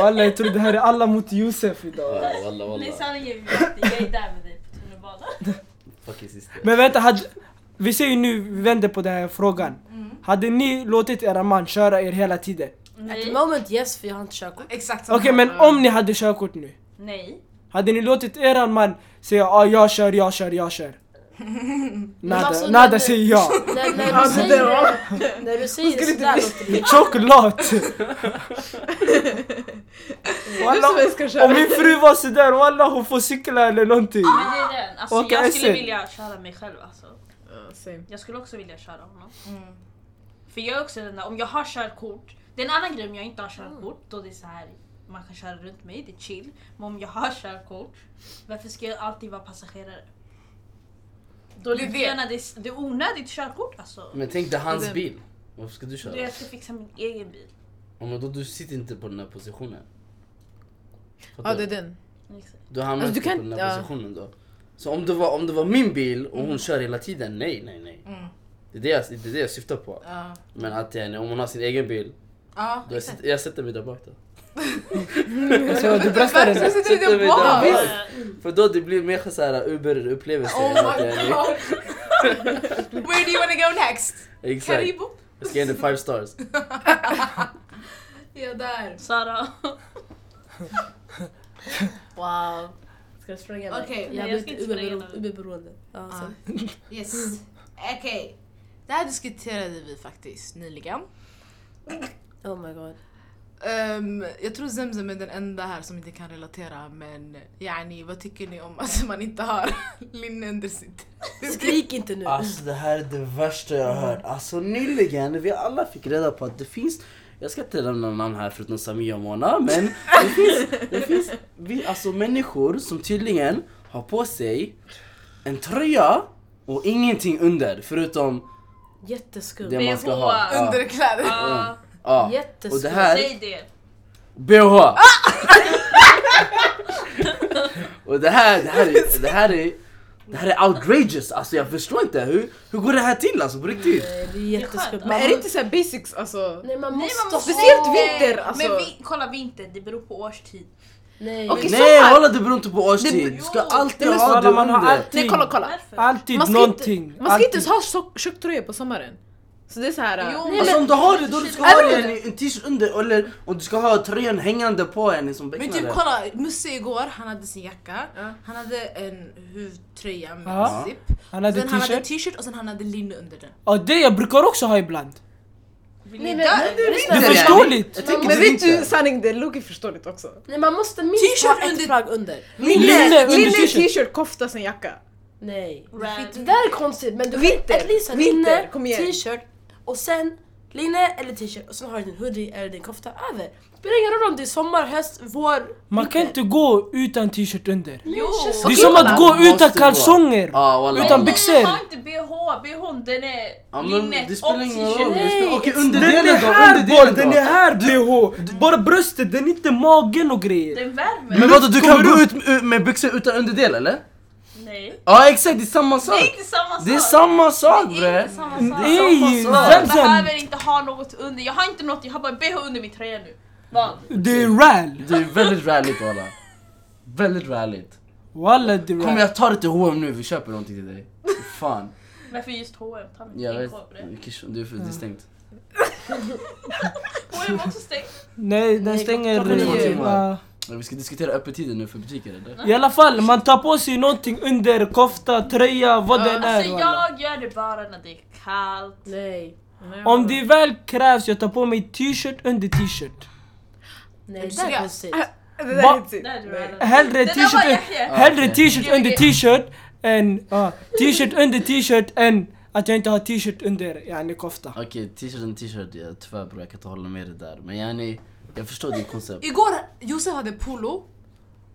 Walla jag tror det här är alla mot Josef idag. Ja, Walla Nej walla. sanningen är att jag är där med dig på tunnelbanan. Fucking syster. Men vänta, hade, vi säger nu, vi vänder på den här frågan. Mm. Hade ni låtit era man köra er hela tiden? At the Nej. moment yes, för jag har inte körkort. Exakt som Okej men om ni hade körkort nu? Nej. Hade ni låtit eran man säga ja, ah, jag kör, jag kör, jag [LAUGHS] kör? Nada, alltså, när nada du- säger jag. När, när du säger det, när du säger det sådär låter det Tjock [LAUGHS] lat! Walla, Vem ska om köra? min fru var sådär, walla hon får cykla eller någonting. Men det är den. Alltså, Åka jag skulle SL. vilja köra mig själv alltså. Ja, same. Jag skulle också vilja köra honom. Mm. För jag är också den där, om jag har körkort, det är en annan grej om jag inte har körkort, då det är så här man kan köra runt mig, det är chill. Men om jag har körkort, varför ska jag alltid vara passagerare? Då det, det. Gärna, det, är, det är onödigt körkort alltså. Men tänk dig hans Det- bil. Varför ska du köra? Jag ska fixa min egen bil. Ja, men då du sitter inte på den här positionen. Ja, Fattar det du? är den. Du hamnar Alltså, inte du kan- på den här ja. Mm. positionen då. Så om det, var, om det var min bil och hon kör hela tiden, nej, nej, nej. Det, är det, jag, det är det jag syftar på. Ja. Men att eh, om hon har sin egen bil, Ja. då jag, sitter, jag sätter mig där bak [LAUGHS] då. Så Alltså, du bröstar den? Sitter du Sätter mig där där bak? bak. För då det blir mer så här Uber-upplevelse. Oh än att my jag- god! Where do you wanna go next? Exakt. Karibo? Jag ska ge henne five stars. Ja, där. Sara, Wow. Ska du springa mig? Okej, jag nej, har jag ska blivit inte springa Uber- nu. Uberberoende. Ja, sen. Yes. Okej. Det här diskuterade vi faktiskt nyligen. Oh my god. Ehm, jag tror Zemzem är den enda här som inte kan relatera men yani, vad tycker ni om att man inte har [LAUGHS] linne under sitt... Skrik inte nu. Alltså det här är det värsta jag har hört. Alltså nyligen, vi alla fick reda på att det finns jag ska inte nämna namn här förutom Samia och Mona men det finns, det finns vi, alltså människor som tydligen har på sig en tröja och ingenting under förutom Jätteskumt. det man ska BH. ha. Ja. Underkläder? ah, Ja. Jätteskumt. Och det här, säg det. BH! [LAUGHS] och det här, det här, är, det här är det här är outrageous, alltså jag förstår inte hur, hur går det här till alltså på riktigt? Nej, Det är jätteskumt. Men är det inte så här basics alltså? Nej man Nej, måste... man måste- Speciellt vinter alltså. Men vi, kolla vinter, det beror på årstid. Nej. Okej. I Nej sommar. walla det beror inte på årstid, du ska Jo. alltid Nej, men ha det snälla, man har under. allt- Nej alltså, kolla kolla. Varför? Alltid Man ska någonting. inte, man ska inte ens Alltid. ha tjock- tjock tröja på sommaren. Så det är så här. Jo, äh, men- Alltså om du har det då du ska ha Även om det en, en t-shirt under eller om du ska ha tröjan hängande på en som Men typ becknare. kolla, Musse igår, han hade sin jacka, Ja. han hade en huvtröja med Ja. zipp, Han hade sen han hade t-shirt. t-shirt och sen han hade linne under den. Och det jag brukar också ha ibland. Vill Nej, ni men, dö? nej, Det men- är förståeligt. Jag tänker Men på vet du vinter. sanning, det är Loki förståeligt också. Nej man måste minst T-shirt ha ett under- plagg under. Linne under Linne t-shirt. t-shirt, kofta, sen jacka. Nej. Red. Det där är konstigt men du Vinter, kan at least ha vinter, linne, kom igen. t-shirt och sen linne eller t-shirt och sen har du din hoodie eller din kofta över. Spelar ingen roll om det är sommar, höst, vår, Man kan vinter. inte gå utan t-shirt under. Men känns Det är okej. som Man att gå måste utan kalsonger. Ja walla. Utan walla. byxor. Nej, ha inte bh, bh den är Ja, men linnet det och spelar ingen roll. t-shirt. Det spelar- Okej Den underdelen är då, här underdelen boll, den då. är här bh! Bara bröstet, den är inte magen och grejer. Den värmer. Men vadå du kan Kommer gå ut med byxor utan underdel eller? Nej. Ja exakt, det är samma Det är sak! inte samma sak. Det är samma sak Det är bre! inte samma sak. Ey, sak. Man Zemzem! behöver inte ha något under. Jag har inte något, jag har bara bh under min tröja nu. Vad? Det är ral! Det är väldigt ralligt walla. Väldigt ralligt. Walla det är Kom ral. jag tar det till H&M nu, vi köper någonting till dig. Fan. Varför just H&M? Ta mitt Jag vet, NK bre. det är för det är stängt. H&M också stängt. Nej den stänger... klockan är eh, nio. va. Men Vi ska diskutera öppettider nu för butiker eller? I alla fall, man tar på sig någonting under kofta, tröja, vad den Alltså är. walla. jag gör det bara när det är kallt. Nej. Om det väl krävs, jag tar på mig t-shirt under t-shirt. Nej, du det där är seriös? konstigt. Det där Va? är typ- hetsigt. Där är du redan. Hellre Det där var t-shirt, Yahya. hellre okej. t-shirt under t-shirt än... ja, t-shirt under t-shirt än att jag inte har t-shirt under yani kofta. Okej, t-shirten t-shirt, ja, tyvärr bror jag kan inte hålla med dig där. Men yani, jag förstår ditt koncept. Ja, Igår, Josef hade polo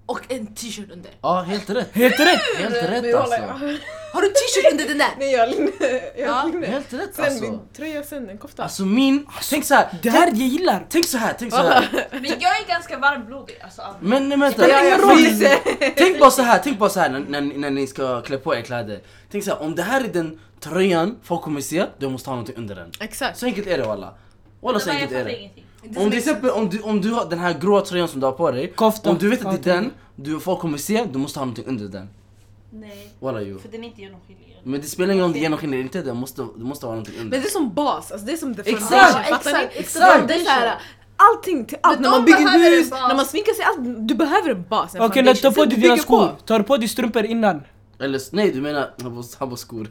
och en t-shirt under. helt rätt. Helt rätt! Helt rätt Nu håller jag. alltså. Har du t-shirt under [LAUGHS] den där? [LAUGHS] Nej jag har linne. Jag har linne. Helt rätt Sen min alltså. tröja, sen en kofta. Alltså min, tänk så här. Det här jag gillar! Tänk så här, tänk så [LAUGHS] här. Men jag är ganska varmblodig. Alltså, av mig. Men nej, vänta. Spelar ingen roll. Tänk- Tänk bara så här, tänk bara så här när, när, när ni ska klä på er kläder. Tänk så här, om det här är den tröjan folk kommer se, du måste ha någonting under den. Exakt. Så enkelt är det walla. Walla så Men jag enkelt är fattar det. ingenting. Om till exempel om du, om du har den här gråa tröjan som du har på dig, Kofta. om du vet att det är Ja, den du folk kommer se, du måste ha någonting under den. Nej, Walla jo. för den är inte genomskinlig. Men det spelar ingen roll om det är genomskinligt eller inte, det måste, det måste vara någonting under. Men det är som bas, alltså det är som the Exakt, foundation, fattar ni? exakt, exakt. Det är så här, allting till allt, Men när de man bygger behöver en hus, bas. när man sminkar sig, allt, du behöver en bas. en Okej, när du tar på foundation. Sen dig du dina bygger skor, på. tar du på dig strumpor innan? Eller s- nej du menar, han bara- han bara skor.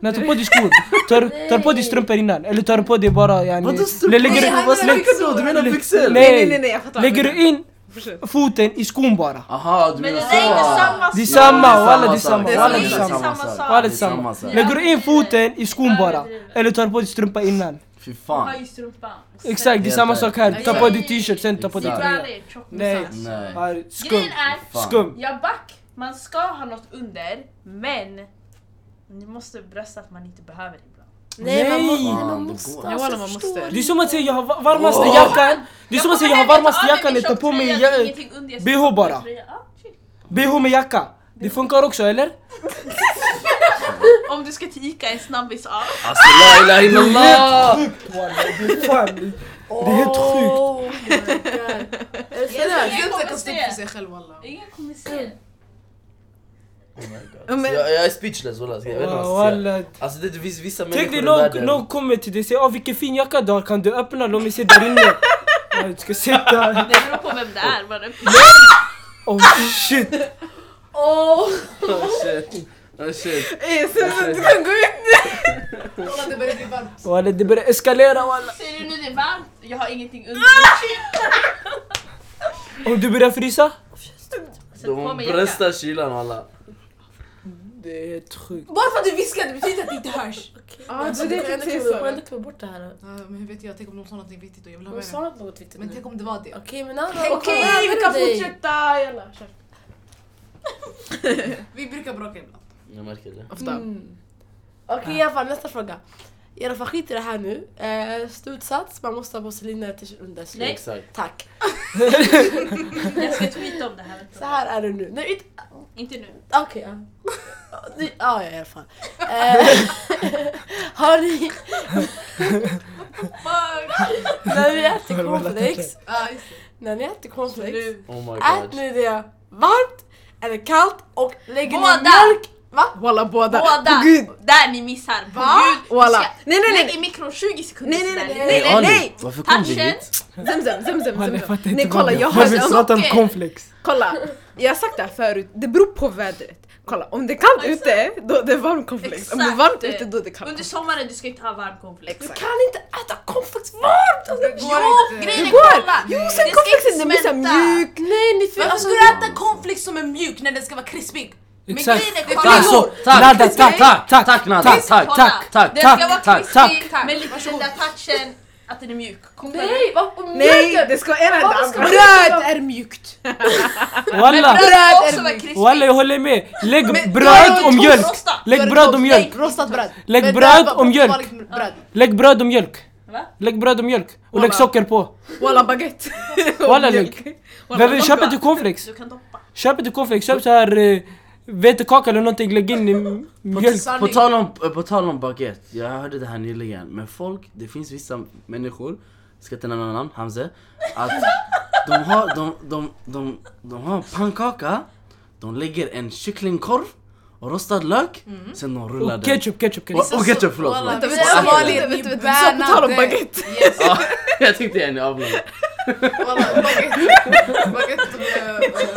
När du tar på dig skor, tar, tar på dig strumpor innan? Eller tar du på dig bara yani... Vadå strumpor? Eller lägger du- Vad snackar du om? Du menar lä- byxor? Nej nej nej, jag fattar. Lägger du in Fortsätt. foten i skon bara. Aha, du Men det menar där är inte samma Det är sak! samma, Ja, det är walla, samma det är samma, sak. walla, Det det är är samma samma. sak. Walla, det är Det är samma samma. sak. Lägger du in foten i skon bara, Överdriven. eller tar på dig strumpa innan. Fy Ha fan. i strumpan. Exakt, det är Helt samma rätt. sak här. Du tar på Exakt. dig t-shirt, sen tar på dig Exakt. tröja. Ibland är det tjock Nej. massage. Nej. Här, Skum, Grejen är, Fan. skum. jag back, man ska ha något under, men ni måste brösta att man inte behöver det ibland. Nej, man måste, Nej. nej, man Ja, måste. det går. Ja, alltså, walla, man förstår måste. du? Det är som att säga jag har va- varmaste jackan. Det är som att säga jag har varmaste jackan, jag tar på mig ja, BH bara. BH med jacka. Det funkar också eller? Om du ska till Ica en snabbis av. Alltså la ilaha illallah! Sjukt walla, det är fan- det är helt sjukt. Oh my god. Är det Det seriöst? är kommer inte kan stå upp se. för sig själv walla. Ingen kommer se. Men, Jag, jag är speechless walla, jag vet inte vad jag ska säga. Walla. Alltså det finns vissa Tänk människor dig i någon, någon världen. kommer till dig och säger "Åh, vilken fin jacka du har, kan du öppna? Låt mig se där [LAUGHS] inne. Ja, Du ska sitta... Det beror på vem det är. Var det Oh shit! Oh shit. Oh shit. eh, sen, du kan gå ut! Kolla det börjar bli varmt. Walla det börjar eskalera walla. Säger du nu det är varmt? Jag har ingenting under. Om du börjar frysa? Sätt på De mig jackan. bröstar kylan walla. Det är helt sjukt. Bara för att du viskade betyder att det inte hörs. Ja, Alltså, det du är det kan jag ändå tänkte klippa- säga. ändå klippa bort det här. Ja, men hur vet jag? Tänk om de sa någonting viktigt och jag vill ha Hon med sa mig. något viktigt Men nu. tänk om det var det. Okej men alla Okej, vi kan fortsätta. Jalla, kör. Vi brukar bråka ibland. Jag märker det. Ofta. Mm. Okej i alla fall nästa fråga. I alla fall skit i det här nu. Eh, Slutsats, man måste ha på sig linne t-shirt under. Slut. Nej. Exakt. Tack. Jag ska tweeta om det här. Så här är det nu. Nej, inte... Inte nu. Okej, [LAUGHS] ja. Ni- Ja, ja, i alla fall. Eh, [LAUGHS] har ni... när vi äter cornflakes, Ja, just det. när ni äter cornflakes, Oh my ät god. ni det varmt eller kallt och lägger ni Båda. mjölk... Va? Walla båda. Båda! Åh, Gud. Där ni missar. På Va? Gud. Walla. Ska- Nej, nej, nej. Lägg i mikron 20 sekunder. Nej nej nej snälla. nej nej nej! Varför kom du Action. hit? Zemzem, zemzem, Walla jag zemzem. fattar Nej inte kolla vad jag vi- har vad vi pratar om socker. cornflakes. Kolla, jag har sagt det här förut, det beror på vädret. Kolla, om det är kallt ute, då är det varm cornflakes. Om det är varmt Exakt. ute, då är det kallt Under cornflakes. sommaren du ska inte ha varm cornflakes. Exakt. Kan inte äta cornflakes varmt! Alltså, Det Jo, går inte. grejen är Det går! kolla! Jo, sen liksom- cornflakesen den blir så här mjuk. Nej, ni får... Varför Alltså, ska du äta cornflakes som är mjuk när den ska vara krispig? Exakt. Men grejen är Tack så, kolla. tack, Ladda, tack, tack, tack, tack, tack, tack, tack, tack, tack, tack, Den ska vara tack, tack, tack. krispig med lite den där touchen att den är mjuk. Kom igen. Nej, varför Nej, det ska vara Varför en ska man- Bröd är mjukt! Men Walla! bröd ska är också vara mjuk. krispigt. Walla jag håller med! Men Lägg då är bröd det och mjölk! toastrosta. Lägg Då är det bröd toast. och Nej, mjölk! rostat bröd. Lägg Men bröd var- och mjölk. vanligt bröd. Lägg bröd och mjölk! Va? Lägg bröd och mjölk! Och Walla. lägg socker på! Walla baguette! [LAUGHS] Walla, lugnt. Walla, Behöver du köpa walla. till cornflakes? Du kan doppa. Köp inte cornflakes, köp så här eh, vetekaka eller någonting, lägg in i m- mjölk. På tal om, eh, på tal om baguette, jag hörde det här nyligen. Men folk, det finns vissa människor, ska inte nämna någon namn, Hamze. Att de har, de, de, de, de har en pannkaka, de lägger en kycklingkorv och rostad lök, sen de rullar Och den. ketchup, ketchup, ketchup. Och, och ketchup, förlåt. förlåt. vänta, vänta, vänta, vänta, vänta, vänta, på tal om baguette. Yes, Ja, jag tyckte jag är avlång. walla, baguette. Baguette med eh, korv.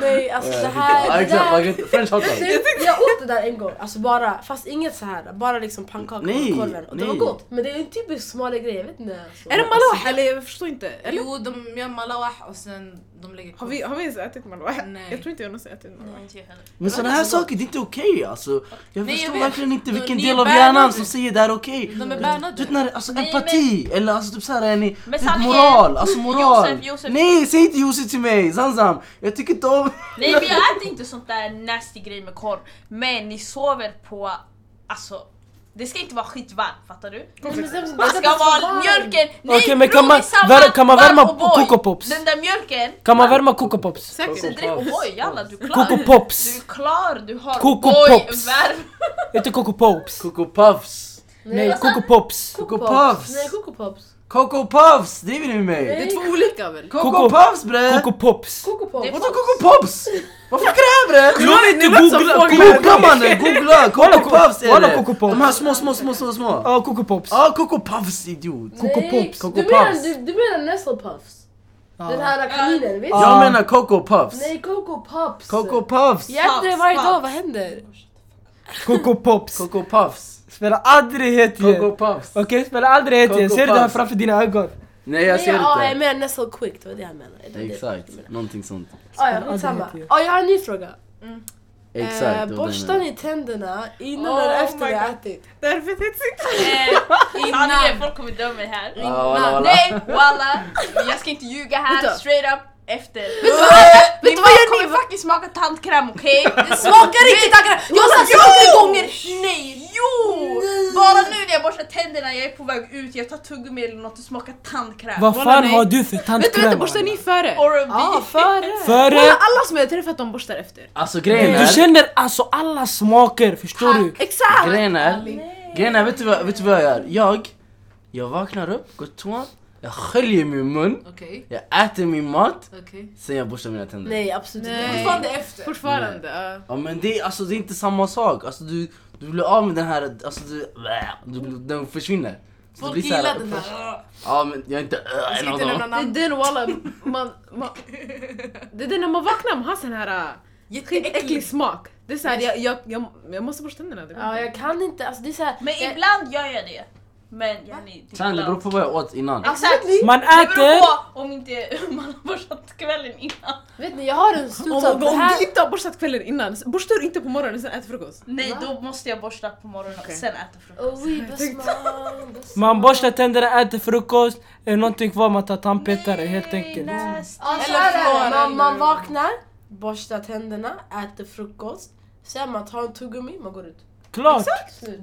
nej, alltså det Ja, här... Det exakt, där baguette, french hotdog. Nej, Typ, jag åt det där en gång, alltså bara, fast inget så här, bara liksom pannkaka Nej, och korven. Och det nej. var gott, men det är en typisk somalisk grej, jag vet inte. Alltså. Är det malawah eller? Jag förstår inte. Eller? Jo, de gör malawah och sen de lägger Har vi, har vi ens ätit malawah? Nej. Jag tror inte jag någonsin ätit malawah. Nej, inte jag heller. Men sådana här saker, det är inte okej alltså. Jag Nej, jag förstår vet. verkligen inte De- vilken ni del är av hjärnan bannade. som säger det här är okej. De är Du vet bannade. när, alltså Nej, empati, eller alltså typ såhär ni, Men du vet, sanningen- moral, alltså moral. Josef, Josef. Nej, säg inte Josef till mig, Zanzam. Jag tycker inte om... Nej men jag äter inte sånt där nasty grej med korv. Men ni sover på, alltså det ska inte vara skitvarmt, fattar du? Nej, men sen- Det ska vara mjölken, nej Okej, men bror, kan man- det är samma vär- kan man varm värma O'boy. Coco Pops? Den där mjölken, Kan man värma Coco Pops? Säkert. drick O'boy jalla du är klar. Coco Du Pops! är klar, du har Coco O'boy, Pops. värme. Inte Coco Pops! Coco Puffs. Nej, Coco Pops! Coco Puffs. alltså, Nej, Coco Pops. Coco Puffs, driver ni med mig? Det är två olika väl? Coco, Coco- Puffs bre! Coco Pops! Coco Pops. Vadå Coco Puffs? Vad funkar det här bre? Glöm inte googla! Googla mannen, googla! Kolla, Coco Puffs är kolla det! Coco Puffs. De här små, små, små, små, små. Ja, Coco Pops! Ja, Coco Puffs idiot. Coco Nej, Pops, Coco Du menar, Puffs. du, du menar Nestle Puffs? Ja. Den här kaninen, visst? Ja. Jag menar Coco Puffs. Nej, Coco Puffs. Coco Puffs. jag äter det varje Puffs, dag, vad händer? Coco Pops! Coco Puffs. Spela aldrig het igen! Coco Okej, Puffs. spela aldrig het Coco igen! Ser du det här Puffs. framför dina ögon? Nej jag ser Nej, ja, jag inte. menar so quick, det var det jag menade. Det var det jag Exakt, menade. någonting sånt. Ja, Aldrig ja, skitsamma. vet jag. Ja, jag har en ny fråga. eh, Exakt. det var det jag borstar menade. ni tänderna innan Oh eller my efter ni har ätit? Därför är det Eh, Sanningen, folk kommer döma mig här. Ah, walla, walla. Nej walla, jag ska inte ljuga här, Vänta. straight up efter. Vet Min du man vad gör ni? kommer fucking smaka tandkräm [LAUGHS] okej? Det smakar inte tandkräm! Jag har sagt 70 gånger! Nej, jo! Bara nu när jag borstar tänderna, jag är på väg ut, jag tar tuggummi eller något, det smakar tandkräm. Vad Walla, fan nej. har du för Vänta, tandkräm? vänta, borstar ni före? Oral-B. Ja, före. Före? Alla, alla som jag har träffat de borstar efter. Alltså grejen Du är, känner alltså alla smaker, förstår du? Exakt! grejen är, grejen är vet, du vad, vet du vad jag gör? Jag, jag vaknar upp, går till toan, jag sköljer min mun, Okej, jag äter min mat, okej. sen jag borstar mina tänder. Nej, absolut inte. Nej. Fortfarande efter. Fortfarande. ja. Ja men det, är- alltså, det är inte samma sak, alltså, du, du blir av med den här, alltså, du, du, blir- den försvinner. Så det Folk blir så här- gillar den här. Ja men jag är inte äh, Alltså, en Ska av inte nämna dem. Det är namn. den walla, man, man, det är den när man vaknar man har sån här äh, skitäcklig Jätteäckligt. smak. Det är såhär, jag, jag, jag, jag måste borsta tänderna. det går Ja, inte. jag kan inte. Alltså det är så här, Men jag, ibland gör jag det. Men yani, det är Sen det beror ibland. på vad jag åt innan. Exakt! Man Det beror äter... på om inte [LAUGHS] man har borstat kvällen innan. vet ni, jag har en Om, stund så om, att det här... du inte har borstat kvällen innan, så borstar du inte på morgonen sen äter frukost. Nej, då måste jag borsta på morgonen och sen äta frukost. Oh, oui, basman, basman. Man borstar tänderna, äter frukost, är någonting kvar man tar tandpetare helt enkelt. Ja, Alltså, så Eller är från, det. Man, eller- man vaknar, borstar tänderna, äter frukost. Sen man tar en tuggummi, man går ut. Klart!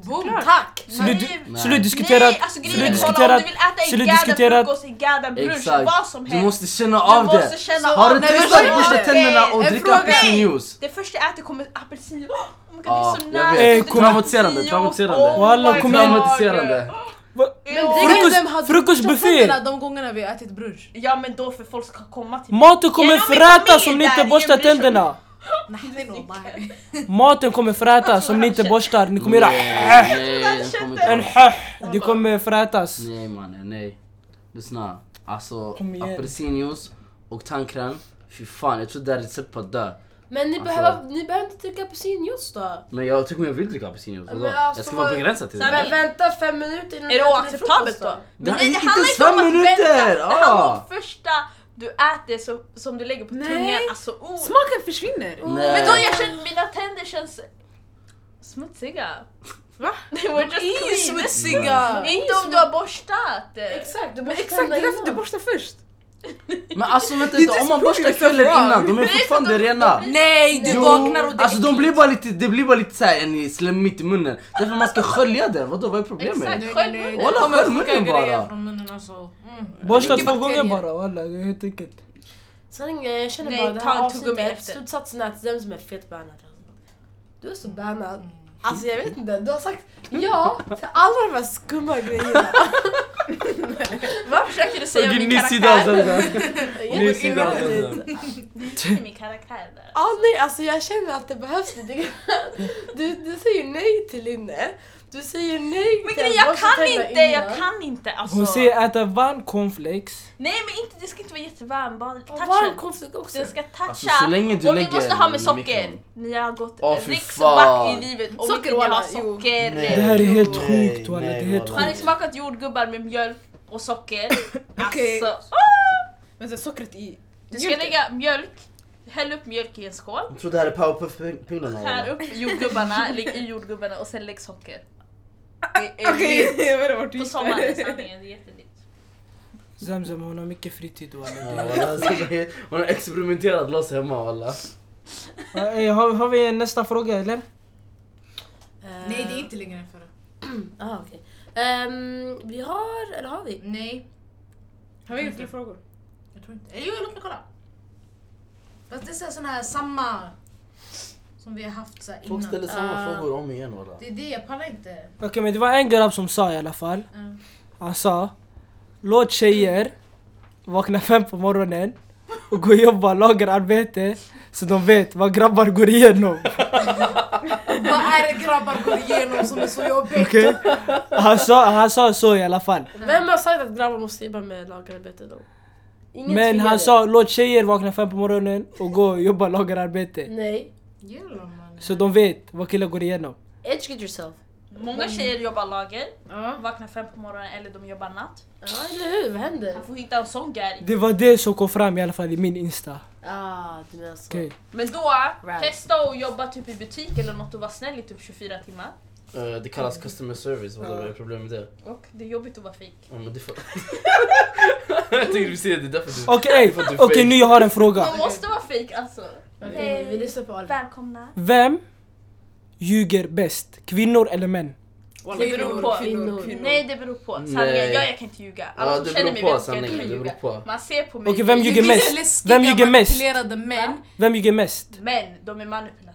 Boom! Tack! Skulle du, Nej. skulle du diskutera... Nej, alltså Skulle du grejen är kolla diskutera... om du vill äta skulle en du gädda diskutera- frukost, en gädda brunch, vad som helst. Du måste känna av måste det. känna har av du det. testat Nej, att borsta nej. tänderna och En dricka fråga. apelsinjuice? eh, Det första jag äter kommer apelsin. Oh my god, det Ja, är så jag nice. vet. Eh, Det är kom- Traumatiserande, så- traumatiserande. Oh my Walla, kom igen. god. Traumatiserande. Va- Jo, Frukost- Vem hade frukostbuffé. borstat tänderna De gångerna vi har ätit brunch. Ja men då för folk ska komma till mig. Maten kommer Genom min frätas familj om ni där, inte ingen borstar bryr sig. tänderna! Nej, wallahi. Maten kommer Alltså, frätas om ni inte borstar, ni kommer göra Nej, nej, jag kommer en inte. höh, det kommer frätas. Nej mannen, nej. Lyssna. Alltså Kom igen. apelsinjuice och tandkräm. Fy fan, jag tror det är recept på att dö. Men ni, Alltså- behöver, ni behöver inte dricka apelsinjuice då. Men jag tycker jag vill dricka apelsinjuice. Men vadå? alltså, jag ska vara vad- begränsad till Sen- det. Men vänta fem minuter innan Är det du äter din oacceptabelt frukost då? Det Nej, är det inte handlar inte fem om att minuter! Ah. vänta. Det handlar Ja. om första du äter så, som du lägger på Nej. tungan. Alltså, oh. Smaken försvinner. Men då Nej. jag känner, mina tänder känns smutsiga. Va? They were just Ingen clean. smutsiga! Inte om du har borstat. Exakt, du Men måste exakt, det tända är därför du innan. borstar först. Men alltså vänta inte, om man borstar kvällen wrong. innan, de är fortfarande rena. Nej, du Jo, vaknar och det Alltså de blir bara lite, det blir bara lite såhär en slem mitt i munnen. Därför man ska skölja den, vadå vad är problemet? Exakt. Nej, nej, nej, det Walla, kommer skölj sjuka munnen bara. grejer från munnen alltså. Mm. Borsta Mycket två gånger bakterier. bara walla, det är helt enkelt. Sanningen, jag känner Nej, bara det ta här en tuggummi avsnittet, efter. slutsatsen är att den som är fet bannad. Du är så Mm. bannad. Alltså jag vet inte, du har sagt ja till alla de här skumma grejerna. [LAUGHS] Vad försöker du säga om min sida karaktär? Ny sida av den. Det är min karaktär där. Ja, nej, alltså jag känner att det behövs lite [LAUGHS] grann. Du, du säger nej till linne. Du säger nej Men till grejen, att jag borsta kan tänderna inte, jag innan. kan inte alltså. Hon säger äta varm cornflakes. Nej men inte, det ska inte vara jättevarm, bara Och var touchen. konstigt också. Den ska toucha. Alltså, så länge du och ni lägger måste ha med i socker. mikron. Ni har gått Åh, oh, fy riksback fan. i livet om Socker, inte ni walla, har jo. socker. Det här är helt Nej, sjukt walla, det nej, är helt walla. Har ni sjukt. smakat jordgubbar med mjölk och [COUGHS] socker? Okej. Alltså, Men sen sockret i du ska mjölken. lägga mjölk, häll upp mjölk i en skål, Jag tror det här är powerpuff-pinnarna. skär walla. upp [LAUGHS] jordgubbarna, lägg i jordgubbarna och sen lägg socker. Det är Okej, [LAUGHS] nytt. jag vet inte vart du På gick. sommaren, sanningen, det är jättenytt. Zamzam hon har mycket fritid Ja, walla. walla, alltså, det är- Hon har experimenterat loss hemma walla. Ey, Eh, Har har vi en nästa fråga eller? Eh, Nej, det är inte längre än förra. ah, okej. Ehm, vi har, eller har vi? Nej, Har vi inga fler frågor? jag tror inte. Eller Jo, låt mig kolla. Fast det är så här- sån här samma som vi har haft så här Folk ställer innan. samma frågor om igen walla. Det är det, jag pallar inte. Okej men det var en grabb som sa i alla fall. Han sa Låt tjejer vakna fem på morgonen och gå och jobba lagerarbete så de vet vad grabbar går igenom. Vad är det grabbar går igenom som är så jobbigt? Okej? Han, sa, han sa så i alla fall. Vem har sagt att grabbar måste jobba med lagerarbete då? Ingen Men tvingar han dig. sa låt tjejer vakna fem på morgonen och gå och jobba lagerarbete. Nej, Gillar man Så de vet vad killar går igenom. educate yourself. Många tjejer jobbar lager, Ja. vaknar fem på morgonen eller de jobbar natt. Ja, eller hur? Vad händer? Han får hitta en sån gäri. Det var det som kom fram i alla fall i min Insta. Ah, du menar så. Okej. Men då, Right. testa att jobba typ i butik eller något och vara snäll i typ 24 timmar. Eh, Det kallas customer service, vad är problemet med det? Och det är jobbigt att vara fake. Ja, men det får... jag tänkte precis det är därför du... Okej, För att du är okej fake. nu jag har en fråga. Man måste vara fake alltså. Okej, vi lyssnar på Oliver. Välkomna. Vem ljuger bäst? Kvinnor eller män? Det beror på. Kvinnor. Nej det beror på. Sanningen, Nej. jag, jag kan inte ljuga. Alla Ja, som det känner beror mig på vet att jag inte sanningen, kan det beror ljuga. på. Man ser på mig. Okej, vem ljuger mest? Vem ljuger mest? manipulerade män. Vem ljuger mest? Men de är manipulativa.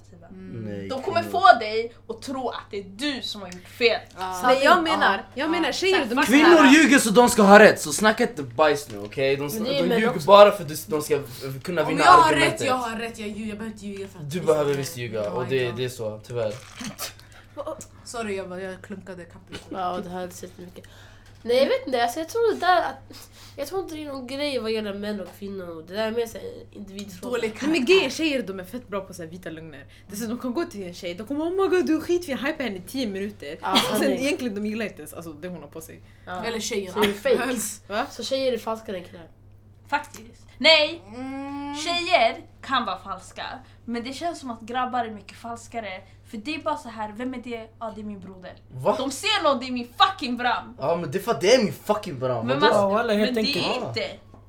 Nej, De kommer kvinnor. få dig att tro att det är du som har gjort fel. Nej jag menar, jag menar tjejer de måste Kvinnor ljuger så de ska ha rätt, så snacka inte bajs nu okej? De, Men det är ju de män ljuger också. bara för att de ska eh, kunna Om vinna jag har argumentet. rätt, jag har Oh rätt. Jag ljuger. Jag behöver inte ljuga för att Du behöver visst ljuga och det, det är så, tyvärr. Sorry, jag, bara- jag klunkade kappet. Ja, det har jag inte sett mycket. Nej, jag vet inte. Alltså, jag tror det där att... Jag tror inte det är någon grej vad gäller män och kvinnor. Det där är mer så här individfråga. Dålig Nej men grejen är, tjejer de är fett bra på så här vita lögner. Dessutom de kan gå till en tjej, de kommer oh my god du är skitfin, hypa henne i 10 minuter. Ja, och sen sanning. egentligen de gillar inte ens alltså, det hon har på sig. [LAUGHS] Ja. Eller tjejen. Så är det fake. Hals. Va? Så alltså, tjejer är falskare än killar. Faktiskt. Nej, Mm, tjejer kan vara falska. Men det känns som att grabbar är mycket falskare. För det är bara så här, vem är det? Ja, det är min broder. Va? De ser någon, det är min fucking bram. Ja men det är för att det är min fucking bram, Men, vadå? man, Ja, walla, men helt det enkelt. är Ja. inte.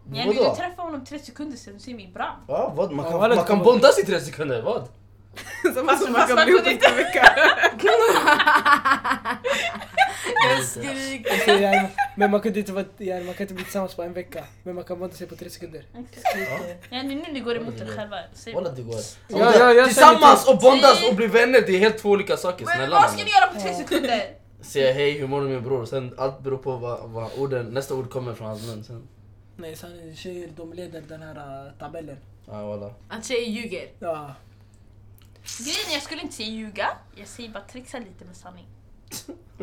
Vadå? Jag vill ju träffa honom 30 sekunder sedan och se min bram. Ja, vad? Man Ja, kan, eller- man kan bonda sig i 30 sekunder, vad? Som alltså, man fast man kan bli ihop kunde efter en [LAUGHS] vecka. Så jag- Men man kunde inte vara, ja, man kan inte bli tillsammans på en vecka. Men man kan bonda sig på tre sekunder. Ja, nu, nu ni går emot er själva. Säg Walla vad. det går. Ja, ja, jag säger Tillsammans och bondas Säg- och bli vänner, det är helt två olika saker Men snälla vad ska mannen. ni göra på 3 sekunder? Säga hej, hur mår du min bror? Sen allt beror på vad, vad orden, nästa ord kommer från hans mun sen. Nej, sanningen, tjejer de leder den här äh, tabellen. Ja walla. Att tjejer ljuger. Ja. Grejen är, jag skulle inte säga ljuga. Jag säger bara trixa lite med sanning.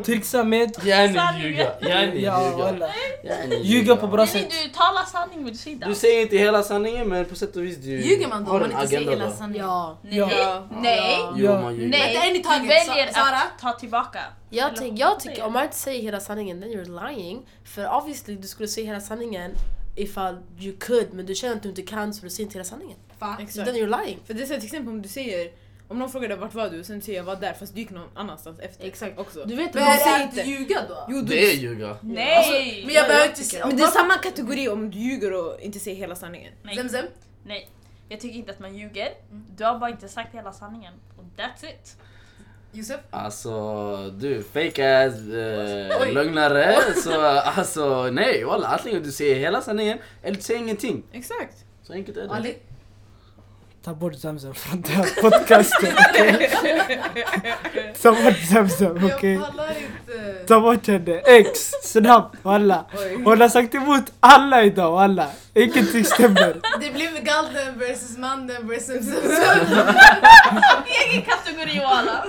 Trixa med... Yani Sanningen. ljuga, yani Ja, ljuga. walla. Yani Ljuga på bra Nej, sätt. du talar sanning men du säger inte Du allt. säger inte hela sanningen men på sätt och vis du Ljuger man då har om man en inte säger agenda hela då. sanningen? Ja. Nej, nej. Jo Ja. man ljuger. Nej, Vänta, en i du taget. väljer Sa- Sara? att ta tillbaka. Jag, Eller tänk, vad jag man tycker säger. om man inte säger hela sanningen, then you're lying. För obviously, du skulle säga hela sanningen ifall you could, men du känner att du inte kan så du säger inte hela sanningen. Fa? Then you're lying. För det är så här, till exempel om du säger om någon frågar dig vart var du och sen säger jag var där fast du gick någon annanstans efter. Exakt. Också. Du vet Men vad de är säger det inte. att ljuga då? Jo, du, Det är ljuga. Nej! Alltså, Men jag behöver inte säga... men det är samma kategori om du ljuger och inte säger hela sanningen. nej, Zem, zem. nej. Jag tycker inte att man ljuger. Du har bara inte sagt hela sanningen. Och that's it. Josef? Alltså du, fake ass, eh, Oj. lögnare. Så alltså nej walla, antingen du säger hela sanningen eller du säger ingenting. Exakt. Så enkelt är det. Ali? Ta bort Zamzam från den här podcasten, okej? Ta bort Zamzam, okej? Jag [LAUGHS] pallar inte. Ta bort henne, ex, snabbt, walla. Hon har sagt emot alla idag, walla. Ingenting stämmer. Det blev galten versus mannen versus... Egen kategori och alla.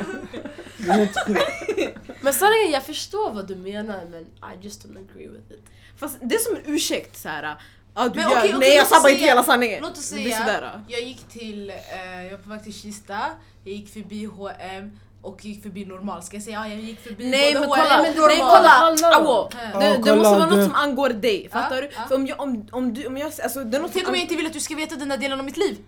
Det är helt sjukt. Men sanningen, jag förstår vad du menar, men I just don't agree with it. Fast det är som en ursäkt såhär. Ja du Men gör, okej, okej, nej jag låt oss sa bara inte säga- hela sanningen. Låt oss Det är säga, sådär. jag gick till, eh, jag var på väg till Kista, jag gick förbi H&M och gick förbi normal. Ska jag säga ja, jag gick förbi Nej både men kolla, H&M nej och normal? kolla! Hallå! Ja. Det, det kolla, måste vara det- något som angår dig, fattar du? ja. För om jag, om, om du, om jag, alltså det är något som... Tänk om jag ang- inte vill att du ska veta den där delen av mitt liv?